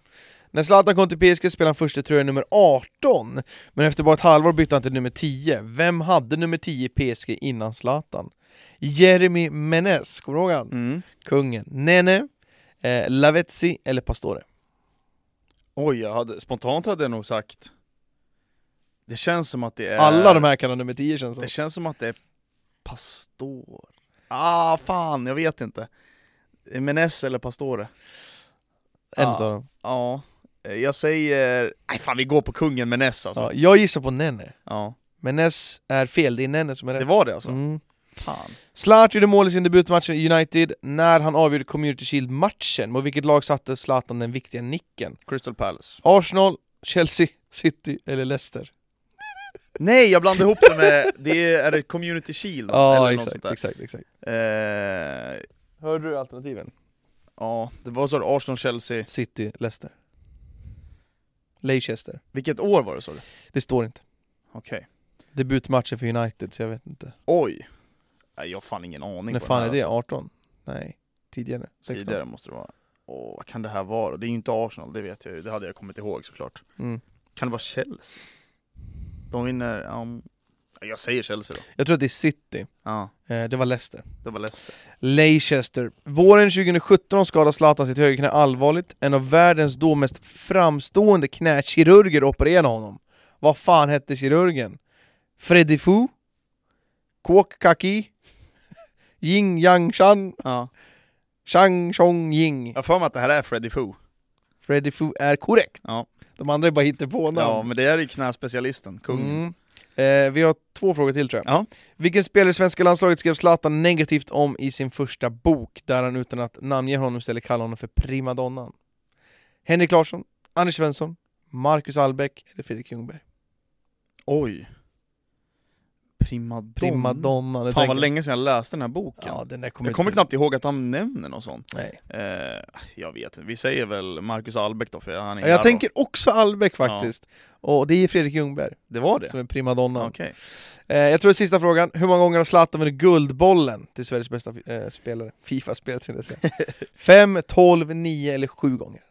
Speaker 1: När Zlatan kom till PSG spelade han första tröja nummer 18, men efter bara ett halvår bytte han till nummer 10. Vem hade nummer 10 i PSG innan Zlatan? Jeremy Menez, kommer du ihåg han?
Speaker 2: Mm.
Speaker 1: Kungen, Nene, eh, Lavezzi eller Pastore?
Speaker 2: Oj, jag hade, spontant hade jag nog sagt... Det känns som att det är...
Speaker 1: Alla de här kan ha nummer 10 känns som.
Speaker 2: Det känns som att det är Pastor. Ah, fan, jag vet inte. Menes eller Pastore?
Speaker 1: En
Speaker 2: Ja.
Speaker 1: utav dem.
Speaker 2: Ja, eh, jag säger... Nej fan, vi går på kungen Menes alltså.
Speaker 1: Ja,
Speaker 2: Ja.
Speaker 1: jag gissar på Nene, men Ness är fel, det är Nene som är
Speaker 2: Det
Speaker 1: rätt.
Speaker 2: var det alltså?
Speaker 1: Mm.
Speaker 2: Fan.
Speaker 1: Zlatan gjorde mål i sin debutmatch i United när han avgjorde Community Shield-matchen. Mot vilket lag satte Zlatan den viktiga nicken?
Speaker 2: Crystal Palace.
Speaker 1: Arsenal, Chelsea, City eller Leicester?
Speaker 2: Nej, jag blandade ihop det med... Det är, är det Community Shield?
Speaker 1: Ja,
Speaker 2: eller något
Speaker 1: exakt,
Speaker 2: sånt där.
Speaker 1: exakt, exakt.
Speaker 2: Eh,
Speaker 1: Hörde du alternativen?
Speaker 2: ja, det var så här, Arsenal, Chelsea.
Speaker 1: City, Leicester. Leicester.
Speaker 2: Vilket år var det sa du?
Speaker 1: Det står inte.
Speaker 2: Okej.
Speaker 1: Debutmatchen för United, så jag vet inte.
Speaker 2: Oj! Nej, jag har fan ingen aning.
Speaker 1: När
Speaker 2: på
Speaker 1: fan
Speaker 2: den
Speaker 1: är
Speaker 2: här,
Speaker 1: det? 18? Nej, tidigare. 16.
Speaker 2: Alltså. Tidigare måste det vara. Åh, vad kan det här vara? Det är ju inte Arsenal, det vet jag ju. Det hade jag kommit ihåg såklart.
Speaker 1: Mm.
Speaker 2: Kan det vara Chelsea? De vinner... Um... Jag säger Chelsea då.
Speaker 1: Jag tror att det är City.
Speaker 2: Ja,
Speaker 1: Eh, det var Leicester.
Speaker 2: det var Leicester.
Speaker 1: Leicester. Våren 2017 skadade Zlatan sitt högerknä allvarligt. En av världens då mest framstående knäkirurger opererade honom. Vad fan hette kirurgen? Freddy Fu? Kåk Kaki? Ying Yang Shan?
Speaker 2: Ja.
Speaker 1: Chang Chong Ying?
Speaker 2: Jag har för mig att det här är Freddy Foo.
Speaker 1: Freddy Fu är korrekt.
Speaker 2: Ja.
Speaker 1: De andra är bara hittepånamn.
Speaker 2: Ja, men det är ju knäspecialisten, kungen.
Speaker 1: Mm. Eh, vi har två frågor till tror jag.
Speaker 2: Ja.
Speaker 1: Vilken spelare i svenska landslaget skrev Zlatan negativt om i sin första bok, där han utan att namnge honom istället kallar honom för primadonnan? Henrik Larsson, Anders Svensson, Marcus Albeck eller Fredrik Ljungberg?
Speaker 2: Oj. Primadonna.
Speaker 1: Primadonnan. det
Speaker 2: Fan
Speaker 1: tänker
Speaker 2: vad
Speaker 1: jag.
Speaker 2: länge sedan jag läste den här boken.
Speaker 1: Ja, den där kommer
Speaker 2: jag kommer
Speaker 1: inte-
Speaker 2: knappt ihåg att han nämner något sånt.
Speaker 1: Nej.
Speaker 2: Eh, jag vet inte, vi säger väl Marcus Albeck då, för han är
Speaker 1: Jag,
Speaker 2: där då.
Speaker 1: tänker också Albeck faktiskt. Och det är Fredrik Ljungberg
Speaker 2: Det var det?
Speaker 1: som är primadonnan.
Speaker 2: Okej.
Speaker 1: Eh, jag tror det är sista frågan. Hur många gånger har Zlatan vunnit Guldbollen till Sveriges bästa eh, spelare? Fifa-spelare tänkte jag säga. 5, 12, 9 eller 7 gånger?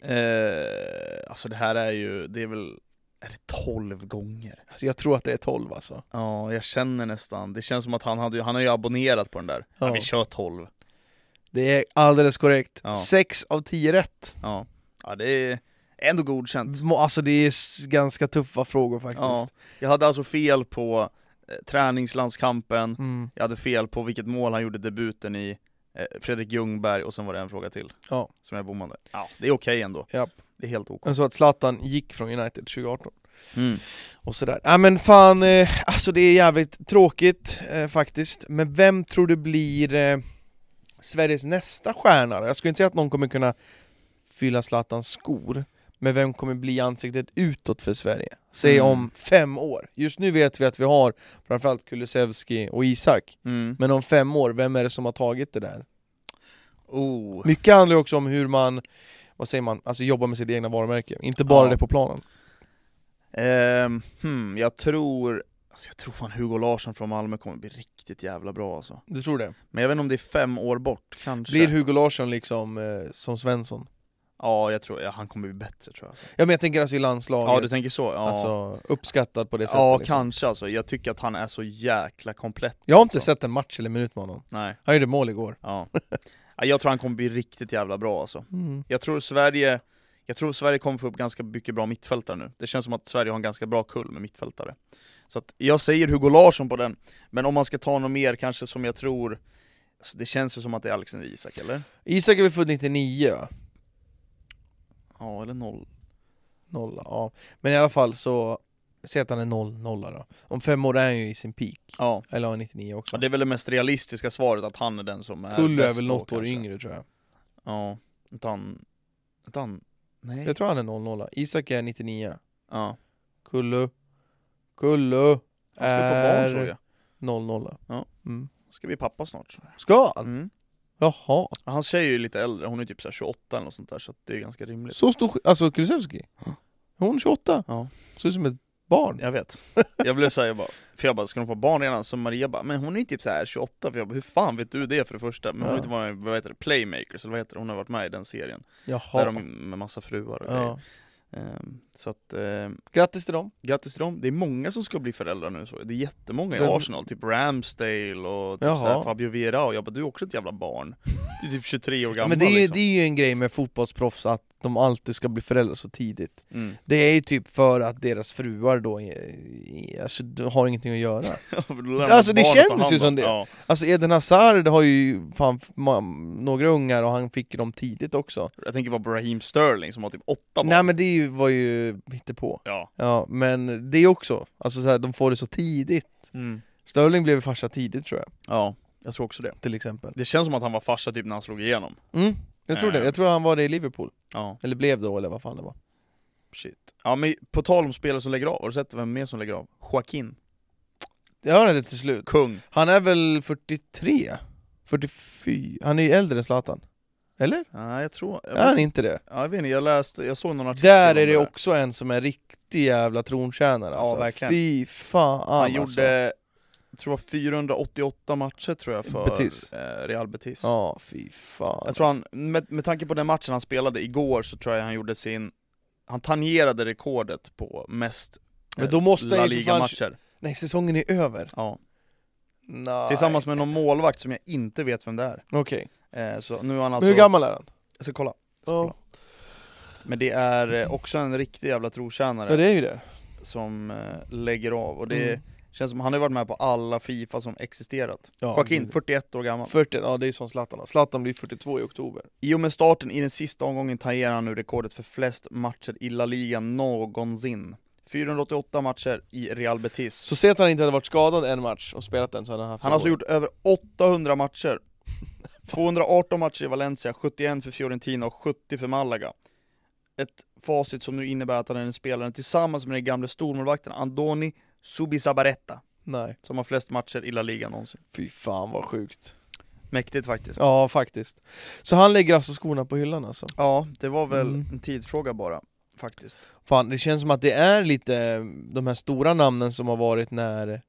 Speaker 2: Eh, alltså det här är ju, det är väl, är det 12 gånger?
Speaker 1: Alltså jag tror att det är 12 alltså.
Speaker 2: Ja, jag känner nästan, det känns som att han, hade, han har ju abonnerat på den där. Ja.
Speaker 1: Ja.
Speaker 2: vi kör 12.
Speaker 1: Det är alldeles korrekt.
Speaker 2: Ja.
Speaker 1: 6 av 10 rätt.
Speaker 2: Ja, ja det är ändå godkänt.
Speaker 1: Må- Alltså det är s- ganska tuffa frågor faktiskt.
Speaker 2: Ja. Jag hade alltså fel på eh, träningslandskampen,
Speaker 1: Mm.
Speaker 2: jag hade fel på vilket mål han gjorde debuten i, eh, Fredrik Ljungberg och sen var det en fråga till.
Speaker 1: Ja.
Speaker 2: Som jag bommade. Ja, det är okej ändå.
Speaker 1: Japp.
Speaker 2: Det är helt okej.
Speaker 1: Men så att Zlatan gick från United 2018
Speaker 2: Mm.
Speaker 1: och sådär. Ja men fan, eh, alltså det är jävligt tråkigt eh, faktiskt. Men vem tror du blir eh, Sveriges nästa stjärna då? Jag skulle inte säga att någon kommer kunna fylla Zlatans skor. Men vem kommer bli ansiktet utåt för Sverige? Säg
Speaker 2: Mm.
Speaker 1: om fem år. Just nu vet vi att vi har framförallt Kulusevski och Isak.
Speaker 2: Mm.
Speaker 1: Men om fem år, vem är det som har tagit det där?
Speaker 2: Oh.
Speaker 1: Mycket handlar ju också om hur man, vad säger man, alltså jobbar med sitt egna varumärke, inte bara
Speaker 2: Ja.
Speaker 1: det på planen.
Speaker 2: Ehm, hmm, jag tror, alltså jag tror fan Hugo Larsson från Malmö kommer bli riktigt jävla bra alltså.
Speaker 1: Du tror det?
Speaker 2: Men jag vet inte om det är fem år bort, kanske.
Speaker 1: Blir Hugo Larsson liksom eh, som Svensson?
Speaker 2: Ja, jag tror, ja, han kommer bli bättre tror jag. Alltså.
Speaker 1: Ja men jag tänker alltså i landslaget,
Speaker 2: Ja, du tänker så? Ja,
Speaker 1: alltså uppskattad på det sättet.
Speaker 2: ja
Speaker 1: liksom.
Speaker 2: kanske alltså. Jag tycker att han är så jäkla komplett.
Speaker 1: Jag har inte
Speaker 2: Alltså.
Speaker 1: sett en match eller minut med honom.
Speaker 2: Nej,
Speaker 1: Han gjorde mål igår.
Speaker 2: ja. ja. Jag tror han kommer bli riktigt jävla bra alltså.
Speaker 1: Mm.
Speaker 2: Jag tror Sverige, jag tror Sverige kommer få upp ganska mycket bra mittfältare nu. Det känns som att Sverige har en ganska bra kull med mittfältare. Så att jag säger Hugo Larsson på den, men om man ska ta något mer kanske som jag tror, alltså det känns ju som att det är Alexander Isak eller?
Speaker 1: Isak är väl född 99 va?
Speaker 2: Ja, eller noll.
Speaker 1: Nolla, ja. Men i alla fall så, säg att han är 0 nolla då. Om fem år är han ju i sin peak,
Speaker 2: Ja.
Speaker 1: eller har 99 också.
Speaker 2: ja, det är väl det mest realistiska svaret att han är den som är
Speaker 1: Kullu är
Speaker 2: bäst
Speaker 1: väl
Speaker 2: då,
Speaker 1: något år
Speaker 2: kanske.
Speaker 1: yngre tror jag.
Speaker 2: Ja, inte han, inte han, nej.
Speaker 1: Jag tror han är 00. Isak är 99.
Speaker 2: Ja.
Speaker 1: Kullu. Kullu
Speaker 2: Han ska få barn såg
Speaker 1: är
Speaker 2: jag.
Speaker 1: 00.
Speaker 2: Ja.
Speaker 1: Mm.
Speaker 2: Ska bli pappa snart.
Speaker 1: Ska han?
Speaker 2: Mm.
Speaker 1: Jaha.
Speaker 2: Ja, Hans tjej är ju lite äldre, hon är typ så här 28 eller något sånt där så att det är ganska rimligt.
Speaker 1: Så stor sk- Alltså Kulusevski?
Speaker 2: Mm. Ja.
Speaker 1: Hon är 28.
Speaker 2: Ja.
Speaker 1: Ser ut som ett barn.
Speaker 2: Jag vet. Jag blev såhär, jag bara, för jag bara, ska de få barn redan? Så Maria bara, men hon är ju typ så här 28, för jag bara, hur fan vet du det för det första? Men hon har
Speaker 1: Ja.
Speaker 2: ju inte varit med, vad heter det, Playmakers, eller vad heter det? Hon har varit med i den serien.
Speaker 1: Jaha.
Speaker 2: Där de med massa fruar och grejer.
Speaker 1: ja.
Speaker 2: Ehm, Så att, ehm,
Speaker 1: Grattis till dem.
Speaker 2: grattis till dem. Det är många som ska bli föräldrar nu så. Det är jättemånga i
Speaker 1: Vem-
Speaker 2: Arsenal, typ Ramsdale och typ
Speaker 1: Jaha.
Speaker 2: så här Fabio Vera och jag bara, du är också ett jävla barn. Du är typ 23 år gammal
Speaker 1: Men det är, ju,
Speaker 2: liksom.
Speaker 1: det är ju en grej med fotbollsproffs att de alltid ska bli föräldrar så tidigt.
Speaker 2: Mm.
Speaker 1: Det är ju typ för att deras fruar då är, är, alltså, de har ingenting att göra.
Speaker 2: Då lär man
Speaker 1: Alltså, det
Speaker 2: barnet ta hand
Speaker 1: känns ju
Speaker 2: om.
Speaker 1: som det.
Speaker 2: Ja.
Speaker 1: Alltså Eden Hazard har ju fan f- ma- några ungar och han fick dem tidigt också.
Speaker 2: Jag tänker bara på Raheem Sterling som har typ åtta barn.
Speaker 1: Nej men det är ju, var ju hittepå.
Speaker 2: Ja.
Speaker 1: Ja, men det är också, alltså så här, de får det så tidigt. Sterling blev farsa tidigt tror jag,
Speaker 2: ja, jag tror också det.
Speaker 1: till exempel.
Speaker 2: Det känns som att han var farsa typ när han slog igenom.
Speaker 1: Mm, jag tror det.
Speaker 2: Eh.
Speaker 1: Jag tror han var det i Liverpool,
Speaker 2: Ja,
Speaker 1: eller blev då eller vad fan det var.
Speaker 2: shit. Ja men på tal om spelare som lägger av, har du sett vem mer som lägger av? Joaquin.
Speaker 1: Jag hörde det till slut.
Speaker 2: Kung.
Speaker 1: Han är väl 43? 44? Han är ju äldre än Zlatan. Eller?
Speaker 2: Ja, jag tror... Jag
Speaker 1: Är han
Speaker 2: vet,
Speaker 1: inte det?
Speaker 2: ja, jag vet inte, jag läste, jag såg någon artikel
Speaker 1: Där
Speaker 2: om
Speaker 1: är det också en som är riktig jävla trontjänare
Speaker 2: Ja,
Speaker 1: alltså.
Speaker 2: verkligen.
Speaker 1: Fy fan
Speaker 2: Han
Speaker 1: alltså.
Speaker 2: gjorde, jag tror det var 488 matcher tror jag för
Speaker 1: Betis.
Speaker 2: Eh, Real Betis.
Speaker 1: Ja, fy fan.
Speaker 2: Jag tror han, med, med tanke på den matchen han spelade igår så tror jag han gjorde sin, han tangerade rekordet på mest eh,
Speaker 1: Men då måste han
Speaker 2: La
Speaker 1: ju för fan-
Speaker 2: Liga-matcher.
Speaker 1: Nej, säsongen är över.
Speaker 2: Ja.
Speaker 1: Nej.
Speaker 2: Tillsammans med någon målvakt som jag inte vet vem det är.
Speaker 1: Okej.
Speaker 2: Eh, så nu är han
Speaker 1: Men
Speaker 2: alltså...
Speaker 1: hur gammal är han?
Speaker 2: Jag ska kolla.
Speaker 1: Ja,
Speaker 2: Men det är eh, också en riktig jävla trotjänare
Speaker 1: ja det är ju det.
Speaker 2: som eh, lägger av och det
Speaker 1: Mm.
Speaker 2: känns som, han har ju varit med på alla Fifa som existerat.
Speaker 1: Ja,
Speaker 2: Joaquin,
Speaker 1: gud.
Speaker 2: 41 år gammal.
Speaker 1: 40, ja det är som Zlatan har. Zlatan blir 42 i oktober.
Speaker 2: I och med starten i den sista omgången tangerar han nu rekordet för flest matcher i La Liga någonsin. 488 matcher i Real Betis.
Speaker 1: Så se att han inte hade varit skadad en match och spelat den så hade han haft
Speaker 2: han har alltså gjort över 800 matcher. 218 matcher i Valencia, 71 för Fiorentina och 70 för Malaga. Ett facit som nu innebär att han är den spelaren tillsammans med den gamle stormålvakten Andoni Subisabaretta
Speaker 1: Nej.
Speaker 2: som har flest matcher i La Liga någonsin.
Speaker 1: Fy fan vad sjukt.
Speaker 2: Mäktigt faktiskt. Ja,
Speaker 1: Ja faktiskt. Så han lägger alltså skorna på hyllan alltså.
Speaker 2: det var väl
Speaker 1: Mm.
Speaker 2: en tidsfråga bara, faktiskt.
Speaker 1: Fan, det känns som att det är lite eh, de här stora namnen som har varit när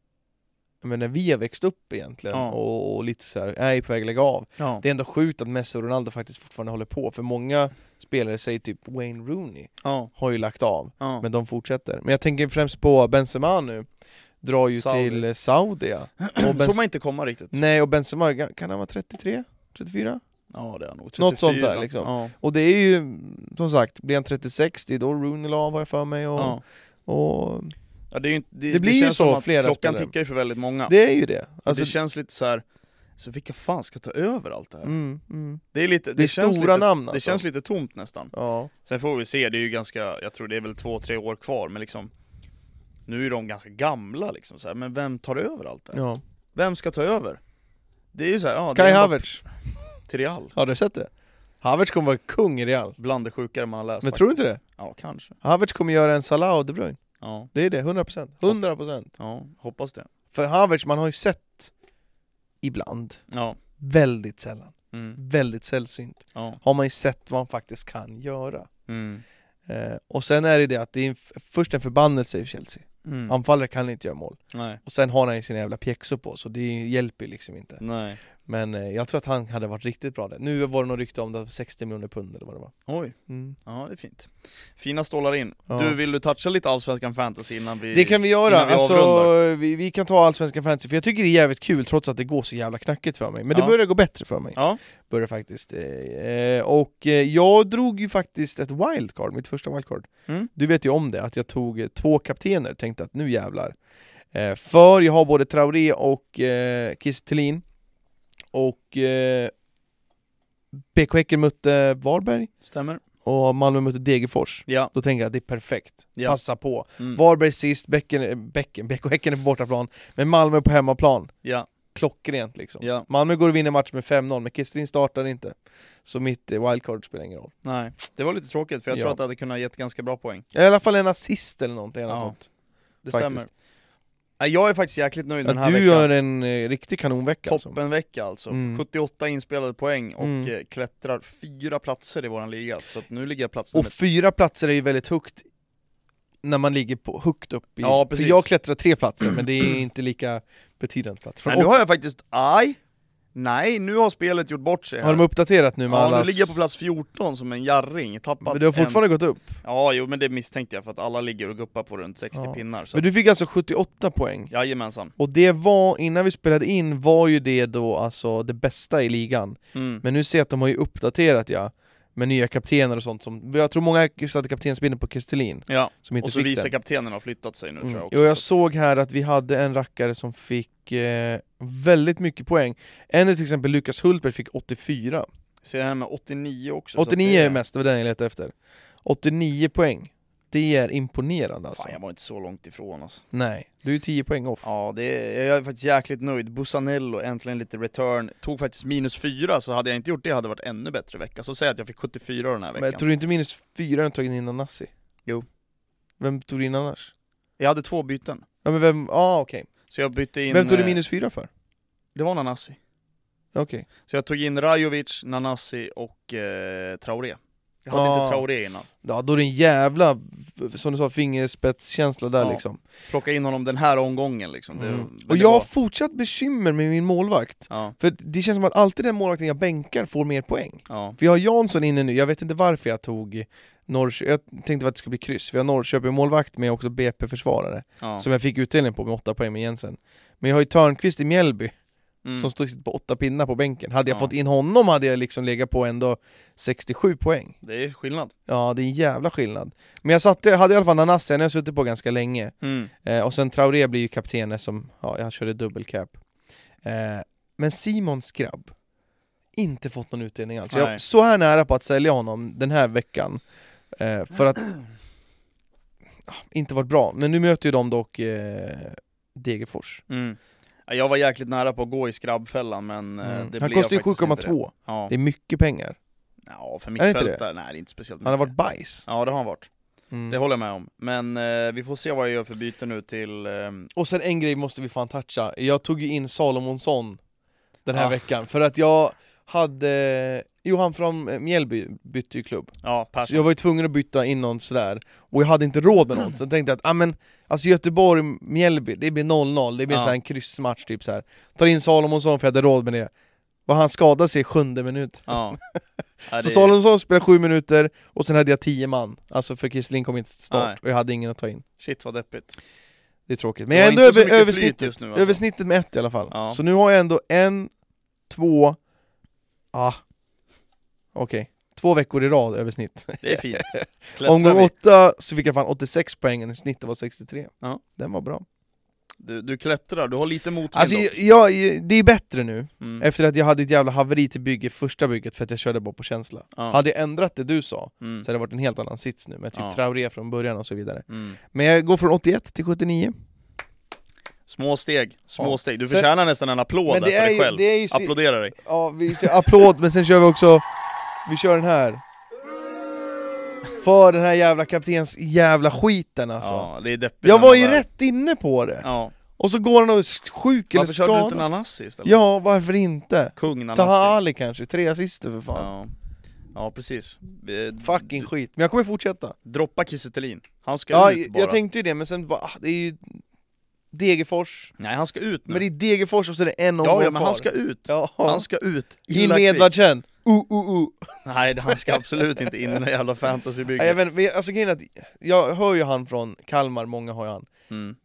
Speaker 1: jag menar, vi har växt upp egentligen
Speaker 2: Ja.
Speaker 1: och, och lite så här, är på väg att lägga av.
Speaker 2: Ja.
Speaker 1: Det är ändå sjukt att Messi och Ronaldo faktiskt fortfarande håller på, för många spelare säger typ Wayne Rooney
Speaker 2: Ja,
Speaker 1: har ju lagt av,
Speaker 2: ja.
Speaker 1: men de fortsätter. Men jag tänker främst på Benzema nu, drar ju
Speaker 2: Saudi.
Speaker 1: till eh, Saudi ja. och
Speaker 2: såg man
Speaker 1: Benz-
Speaker 2: inte komma riktigt.
Speaker 1: Nej, och Benzema, kan han vara 33? 34?
Speaker 2: Ja, det är han nog.
Speaker 1: Något sånt
Speaker 2: 34.
Speaker 1: där, liksom.
Speaker 2: Ja.
Speaker 1: Och det är ju, som sagt, blir han 36, det är då Rooney la av har jag för mig och,
Speaker 2: Ja.
Speaker 1: och
Speaker 2: Ja, det, är ju inte, det,
Speaker 1: Det blir ju
Speaker 2: känns
Speaker 1: så
Speaker 2: som att
Speaker 1: flera
Speaker 2: Klockan
Speaker 1: spelare.
Speaker 2: tickar ju för väldigt många. Det,
Speaker 1: det är ju det. Alltså,
Speaker 2: det känns lite så här. så vilka fan ska ta över allt det här?
Speaker 1: mm, mm.
Speaker 2: Det är lite, det,
Speaker 1: Det, är
Speaker 2: känns
Speaker 1: stora
Speaker 2: lite,
Speaker 1: namn
Speaker 2: Det
Speaker 1: alltså.
Speaker 2: känns lite tomt nästan.
Speaker 1: Ja.
Speaker 2: Sen får vi se, det är ju ganska, jag tror det är väl två, tre år kvar, men liksom nu är de ganska gamla liksom så här. men vem tar över allt det här?
Speaker 1: ja.
Speaker 2: Vem ska ta över? Det är ju såhär, ja, det
Speaker 1: Kai
Speaker 2: är bara
Speaker 1: Havertz,
Speaker 2: till Real.
Speaker 1: har du sett det? Havertz kommer vara kung i Real.
Speaker 2: Bland det sjukare man har läst
Speaker 1: Men tror du inte
Speaker 2: Alltså, faktiskt.
Speaker 1: det?
Speaker 2: Ja, kanske.
Speaker 1: Havertz kommer göra en Salah och De Bruyne.
Speaker 2: Ja,
Speaker 1: Det är det, 100%. 100%.
Speaker 2: ja, hoppas det.
Speaker 1: För Havertz, man har ju sett ibland,
Speaker 2: Ja,
Speaker 1: väldigt sällan,
Speaker 2: mm,
Speaker 1: väldigt sällsynt,
Speaker 2: ja,
Speaker 1: har man ju sett vad han faktiskt kan göra.
Speaker 2: mm,
Speaker 1: Eh, och sen är det det att det är en, f- först en förbannelse i Chelsea.
Speaker 2: mm.
Speaker 1: Anfallare kan inte göra mål.
Speaker 2: Nej,
Speaker 1: Och sen har han ju sina jävla pjäxor på, så det hjälper ju liksom inte.
Speaker 2: nej.
Speaker 1: Men eh, jag tror att han hade varit riktigt bra där. Nu var det något rykte om det var 60 miljoner pund eller vad det var.
Speaker 2: Oj,
Speaker 1: Mm.
Speaker 2: ja det är fint. Fina stålar in.
Speaker 1: Ja.
Speaker 2: Du, vill du toucha lite Allsvenskan fantasy innan vi...
Speaker 1: Det kan vi göra,
Speaker 2: innan vi
Speaker 1: alltså,
Speaker 2: avrundar.
Speaker 1: vi, vi kan ta Allsvenskan Fantasy, för jag tycker det är jävligt kul trots att det går så jävla knackigt för mig. Men
Speaker 2: Ja.
Speaker 1: det börjar gå bättre för mig.
Speaker 2: Ja.
Speaker 1: Börjar faktiskt. eh, eh, Och eh, jag drog ju faktiskt ett wildcard, mitt första wildcard.
Speaker 2: Mm.
Speaker 1: Du vet ju om det, att jag tog eh, två kaptener, tänkte att nu jävlar. Eh, För jag har både Traoré och eh, Kiese Thelin. Och eh, BK Häcken mötte Varberg
Speaker 2: Stämmer.
Speaker 1: och Malmö mötte Degerfors.
Speaker 2: Ja.
Speaker 1: Då tänker jag att det är perfekt,
Speaker 2: Ja.
Speaker 1: passa på.
Speaker 2: Mm.
Speaker 1: Varberg sist, Bäcken, Bäcken, Bäck och Häcken är på bortaplan, men Malmö på hemmaplan.
Speaker 2: Ja,
Speaker 1: Klockrent liksom.
Speaker 2: ja,
Speaker 1: Malmö går och vinner match med 5-0, men Kristin startar inte. Så mitt eh, wildcard spelar ingen roll.
Speaker 2: nej. Det var lite tråkigt för jag
Speaker 1: Ja.
Speaker 2: tror att det hade kunnat gett ganska bra poäng.
Speaker 1: I alla fall en assist eller någonting. eller
Speaker 2: Ja,
Speaker 1: något sånt,
Speaker 2: Det
Speaker 1: faktiskt.
Speaker 2: stämmer. Nej, Jag är faktiskt jäkligt nöjd den
Speaker 1: Att
Speaker 2: här
Speaker 1: du
Speaker 2: veckan.
Speaker 1: gör en eh, riktig kanonvecka alltså.
Speaker 2: Toppenvecka alltså.
Speaker 1: Mm.
Speaker 2: 78 inspelade poäng och
Speaker 1: Mm.
Speaker 2: eh, klättrar fyra platser i våran liga. Så att nu ligger jag plats nummer
Speaker 1: Och fyra platser är ju väldigt högt när man ligger på, högt upp i...
Speaker 2: Ja,
Speaker 1: för
Speaker 2: precis.
Speaker 1: jag klättrar tre platser, men det är inte lika betydande plats. Från
Speaker 2: Nej, nu
Speaker 1: åt-
Speaker 2: har jag faktiskt, aj! Nej, nu har spelet gjort bort sig här.
Speaker 1: har de uppdaterat nu med
Speaker 2: Ja,
Speaker 1: alla...
Speaker 2: nu ligger jag på plats 14 som en jarring, tappat
Speaker 1: Men du har fortfarande gått upp.
Speaker 2: en... Ja, jo men det misstänkte jag för att alla ligger och guppar på runt 60
Speaker 1: Ja.
Speaker 2: pinnar så
Speaker 1: Men du fick alltså 78 poäng.
Speaker 2: Jajamensan.
Speaker 1: Och det var, innan vi spelade in, var ju det då alltså det bästa i ligan.
Speaker 2: Mm.
Speaker 1: Men nu ser jag att de har ju uppdaterat ja, med nya kaptener och sånt som, jag tror många satte kaptensbindeln på Kristelin,
Speaker 2: Ja,
Speaker 1: som inte
Speaker 2: och så
Speaker 1: fick
Speaker 2: vice
Speaker 1: den.
Speaker 2: kaptenen har flyttat sig nu tror
Speaker 1: Mm.
Speaker 2: jag också.
Speaker 1: Jo, jag
Speaker 2: så...
Speaker 1: såg här att vi hade en rackare som fick eh, väldigt mycket poäng. En är till exempel Lukas Hultberg fick 84.
Speaker 2: Ser jag här med 89 också. så att
Speaker 1: 89
Speaker 2: det
Speaker 1: är mest, det var den jag letade efter. 89 poäng. Det är imponerande alltså.
Speaker 2: Fan, jag var inte så långt ifrån alltså.
Speaker 1: Nej, du är 10 poäng off.
Speaker 2: Ja, det är, jag är faktiskt jäkligt nöjd. Busanello, äntligen lite return. Tog faktiskt minus 4, så hade jag inte gjort det hade det varit ännu bättre vecka. Så säg att jag fick 74 den här veckan.
Speaker 1: Men tror du inte minus 4 har tagit in Nassi?
Speaker 2: Jo.
Speaker 1: Vem tog du in annars?
Speaker 2: Jag hade två byten.
Speaker 1: Ja men vem, ja ah, okej.
Speaker 2: Så jag bytte in...
Speaker 1: Vem tog du
Speaker 2: eh,
Speaker 1: minus fyra för?
Speaker 2: Det var Nanasi.
Speaker 1: Okej.
Speaker 2: Så jag tog in Rajovic, Nanasi och eh, Traoré. Jag hade
Speaker 1: Ja.
Speaker 2: inte Traoré innan.
Speaker 1: Ah, Ja, då är det en jävla, som du sa, fingerspetskänsla där
Speaker 2: Ja.
Speaker 1: liksom
Speaker 2: Plocka in honom den här omgången liksom. Det,
Speaker 1: Mm.
Speaker 2: det
Speaker 1: Och jag har
Speaker 2: var-
Speaker 1: fortsatt bekymmer med min målvakt
Speaker 2: Ja,
Speaker 1: För det känns som att alltid den målvakten jag bänkar får mer poäng
Speaker 2: ja.
Speaker 1: För jag har Jansson inne nu, jag vet inte varför jag tog Norrköping, jag tänkte att det skulle bli kryss Vi har Norrköping målvakt men jag har också BP-försvarare
Speaker 2: ja.
Speaker 1: Som jag fick utdelning på med 8 poäng med Jensen Men jag har ju Törnqvist i Mjällby
Speaker 2: Mm.
Speaker 1: som står sitter på 8 pinnar på bänken Hade jag
Speaker 2: Ja.
Speaker 1: fått in honom hade jag liksom legat på ändå 67 poäng
Speaker 2: Det är skillnad.
Speaker 1: Ja, det är en jävla skillnad Men jag satte, hade i alla fall Nanasi, han har jag suttit på ganska länge
Speaker 2: Mm.
Speaker 1: Eh, och sen Traoré blir ju kaptenen som, ja, jag körde dubbelcap. Eh, men Simons grabb, inte fått någon utdelning alls. Jag var
Speaker 2: Nej.
Speaker 1: så här nära på att sälja honom den här veckan, eh, för att ah, inte varit bra. Men nu möter ju de dock eh, Degerfors.
Speaker 2: Mm. Ja, Jag var jäkligt nära på att gå i skrabbfällan men eh,
Speaker 1: Mm.
Speaker 2: det
Speaker 1: Han
Speaker 2: blev
Speaker 1: kostar ju
Speaker 2: faktiskt inte
Speaker 1: 7,2,
Speaker 2: det. Ja.
Speaker 1: det är mycket pengar.
Speaker 2: ja, för
Speaker 1: det inte det?
Speaker 2: mittfältare, nej det är inte speciellt
Speaker 1: Han har
Speaker 2: mycket.
Speaker 1: varit bajs.
Speaker 2: Ja det har han varit,
Speaker 1: Mm.
Speaker 2: det håller jag med om. Men eh, vi får se vad jag gör för byte nu till... ehm,
Speaker 1: Och sen en grej måste vi fan toucha, jag tog ju in Salomonsson den här
Speaker 2: Ah.
Speaker 1: veckan, för att jag hade, jo han från eh, Mjällby bytte ju klubb
Speaker 2: ja,
Speaker 1: Så
Speaker 2: Persson.
Speaker 1: jag var ju tvungen att byta in någon sådär, och jag hade inte råd med någon, så jag tänkte att ah, men, alltså Göteborg-Mjällby, det blir 0-0, det blir
Speaker 2: Ja.
Speaker 1: så här en kryssmatch typ så här. Tar in Salomonsson för jag hade råd med det, vad han skadade sig i sjunde minut
Speaker 2: Ja. Ja,
Speaker 1: Så
Speaker 2: det-
Speaker 1: Salomonsson spelade sju minuter, och sen hade jag tio man, alltså för Kisling kom inte till start,
Speaker 2: Nej.
Speaker 1: och jag hade ingen att ta in
Speaker 2: Shit vad deppigt.
Speaker 1: det är tråkigt, men
Speaker 2: Du
Speaker 1: jag är
Speaker 2: har
Speaker 1: ändå
Speaker 2: inte så
Speaker 1: över,
Speaker 2: mycket
Speaker 1: över,
Speaker 2: flyt
Speaker 1: snittet,
Speaker 2: just nu, alltså.
Speaker 1: över snittet med ett i alla fall
Speaker 2: Ja.
Speaker 1: Så nu har jag ändå en, två, ah, okej, två veckor i rad över snitt
Speaker 2: Det är fint. Klättrar
Speaker 1: Omgång
Speaker 2: vi.
Speaker 1: 8 så fick jag fan 86 poäng, och snittet var 63
Speaker 2: Ja.
Speaker 1: Den var bra
Speaker 2: Du, du klättrar, du har lite motvind
Speaker 1: Alltså
Speaker 2: dock.
Speaker 1: jag, jag, det är bättre nu,
Speaker 2: mm.
Speaker 1: efter att jag hade ett jävla haveri till bygge, första bygget för att jag körde bara på känsla
Speaker 2: Ja.
Speaker 1: Hade jag ändrat det du sa,
Speaker 2: Mm.
Speaker 1: så hade det varit en helt annan sits nu med typ
Speaker 2: Ja.
Speaker 1: Traoré från början och så vidare
Speaker 2: Mm.
Speaker 1: Men jag går från 81 till 79
Speaker 2: Små steg, små
Speaker 1: Ja.
Speaker 2: steg. Du
Speaker 1: Sen-
Speaker 2: förtjänar nästan en applåd
Speaker 1: Men
Speaker 2: där
Speaker 1: det
Speaker 2: för
Speaker 1: är
Speaker 2: dig
Speaker 1: ju,
Speaker 2: själv.
Speaker 1: det är ju så,
Speaker 2: Applådera dig.
Speaker 1: Ja, vi kör applåd, men sen kör vi också, vi kör den här För den här jävla kaptens jävla skiten alltså
Speaker 2: Ja, det är deppigt.
Speaker 1: Jag
Speaker 2: när man
Speaker 1: var ju
Speaker 2: bara-
Speaker 1: rätt inne på det,
Speaker 2: Ja.
Speaker 1: och så går han och är sjuk eller
Speaker 2: Varför körde du inte
Speaker 1: skadad
Speaker 2: Nanassi istället?
Speaker 1: Ja, varför inte?
Speaker 2: Kung Nanassi.
Speaker 1: Taha Ali kanske, tre assister för fan
Speaker 2: Ja. ja, precis. Eh,
Speaker 1: Fucking skit, men jag kommer fortsätta
Speaker 2: Droppa Kiese Han ska
Speaker 1: Ja,
Speaker 2: ut
Speaker 1: jag,
Speaker 2: bara.
Speaker 1: jag tänkte ju det, men sen bara, ah, det är ju Degerfors,
Speaker 2: Nej, han ska ut nu.
Speaker 1: men det är Degerfors och så är det en omgång
Speaker 2: ja, ja, men han
Speaker 1: kvar.
Speaker 2: ska ut.
Speaker 1: ja.
Speaker 2: Han ska ut.
Speaker 1: In
Speaker 2: Illa
Speaker 1: med
Speaker 2: kvickt.
Speaker 1: Edvardsen! Uh, uh, uh.
Speaker 2: Nej, det- han ska absolut inte in i den jävla
Speaker 1: Nej, Jag,
Speaker 2: fantasybygget.
Speaker 1: vet, inte, men jag- alltså, grejen är att jag hör ju han från Kalmar, många har ju han
Speaker 2: Mm.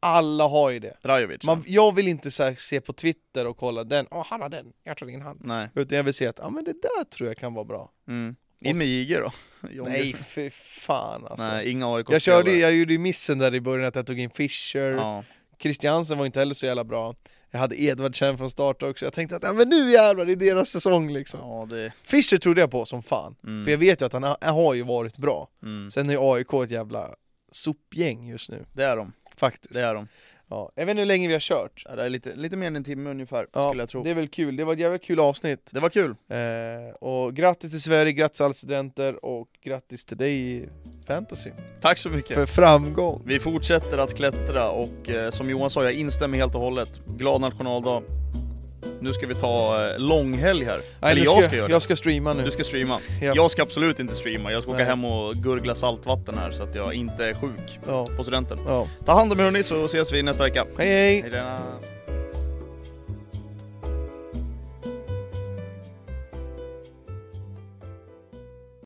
Speaker 1: Alla har ju det
Speaker 2: Drajovic.
Speaker 1: Man, Jag vill inte så här, se på Twitter och kolla den, åh han har den, jag tar in han
Speaker 2: Nej.
Speaker 1: Utan jag vill se att, ja ah, men det där tror jag kan vara bra
Speaker 2: Mm. In med Jige då. Jonge.
Speaker 1: Nej fy fan alltså
Speaker 2: Nej, inga aik
Speaker 1: Jag, körde, ju- jag gjorde ju missen där i början att jag tog in Fischer,
Speaker 2: Ja.
Speaker 1: Christiansen var inte heller så jävla bra Jag hade Edvardsen från start också, jag tänkte att ja, men nu jävlar, det är deras säsong liksom
Speaker 2: ja, det...
Speaker 1: Fischer trodde jag på som fan,
Speaker 2: Mm.
Speaker 1: för jag vet ju att han har, har ju varit bra
Speaker 2: Mm.
Speaker 1: Sen är ju AIK ett jävla sopgäng just nu,
Speaker 2: Det är de.
Speaker 1: faktiskt
Speaker 2: Det är de.
Speaker 1: ja. Jag vet inte hur länge vi har kört
Speaker 2: Ja, Det är lite, lite mer än en timme ungefär,
Speaker 1: ja,
Speaker 2: skulle jag tro.
Speaker 1: Det
Speaker 2: Det...
Speaker 1: är väl kul, det var ett jävla kul avsnitt
Speaker 2: var kul.
Speaker 1: eh, Och grattis till Sverige, grattis alla studenter och grattis till dig i fantasy
Speaker 2: Tack så mycket.
Speaker 1: För framgång!
Speaker 2: Vi fortsätter att klättra och eh, som Johan sa, jag instämmer helt och hållet. Glad nationaldag. Nu ska vi ta eh, långhelg här. Eller
Speaker 1: nu
Speaker 2: jag ska göra
Speaker 1: jag ska streama nu
Speaker 2: det. Du ska streama.
Speaker 1: Ja.
Speaker 2: Jag ska absolut inte streama. Jag ska åka
Speaker 1: Nej.
Speaker 2: hem och gurgla saltvatten här så att jag inte är sjuk
Speaker 1: Ja,
Speaker 2: på studenten.
Speaker 1: ja.
Speaker 2: Ta hand om er hörni så ses vi nästa vecka.
Speaker 1: Hej hej!
Speaker 2: Hej då.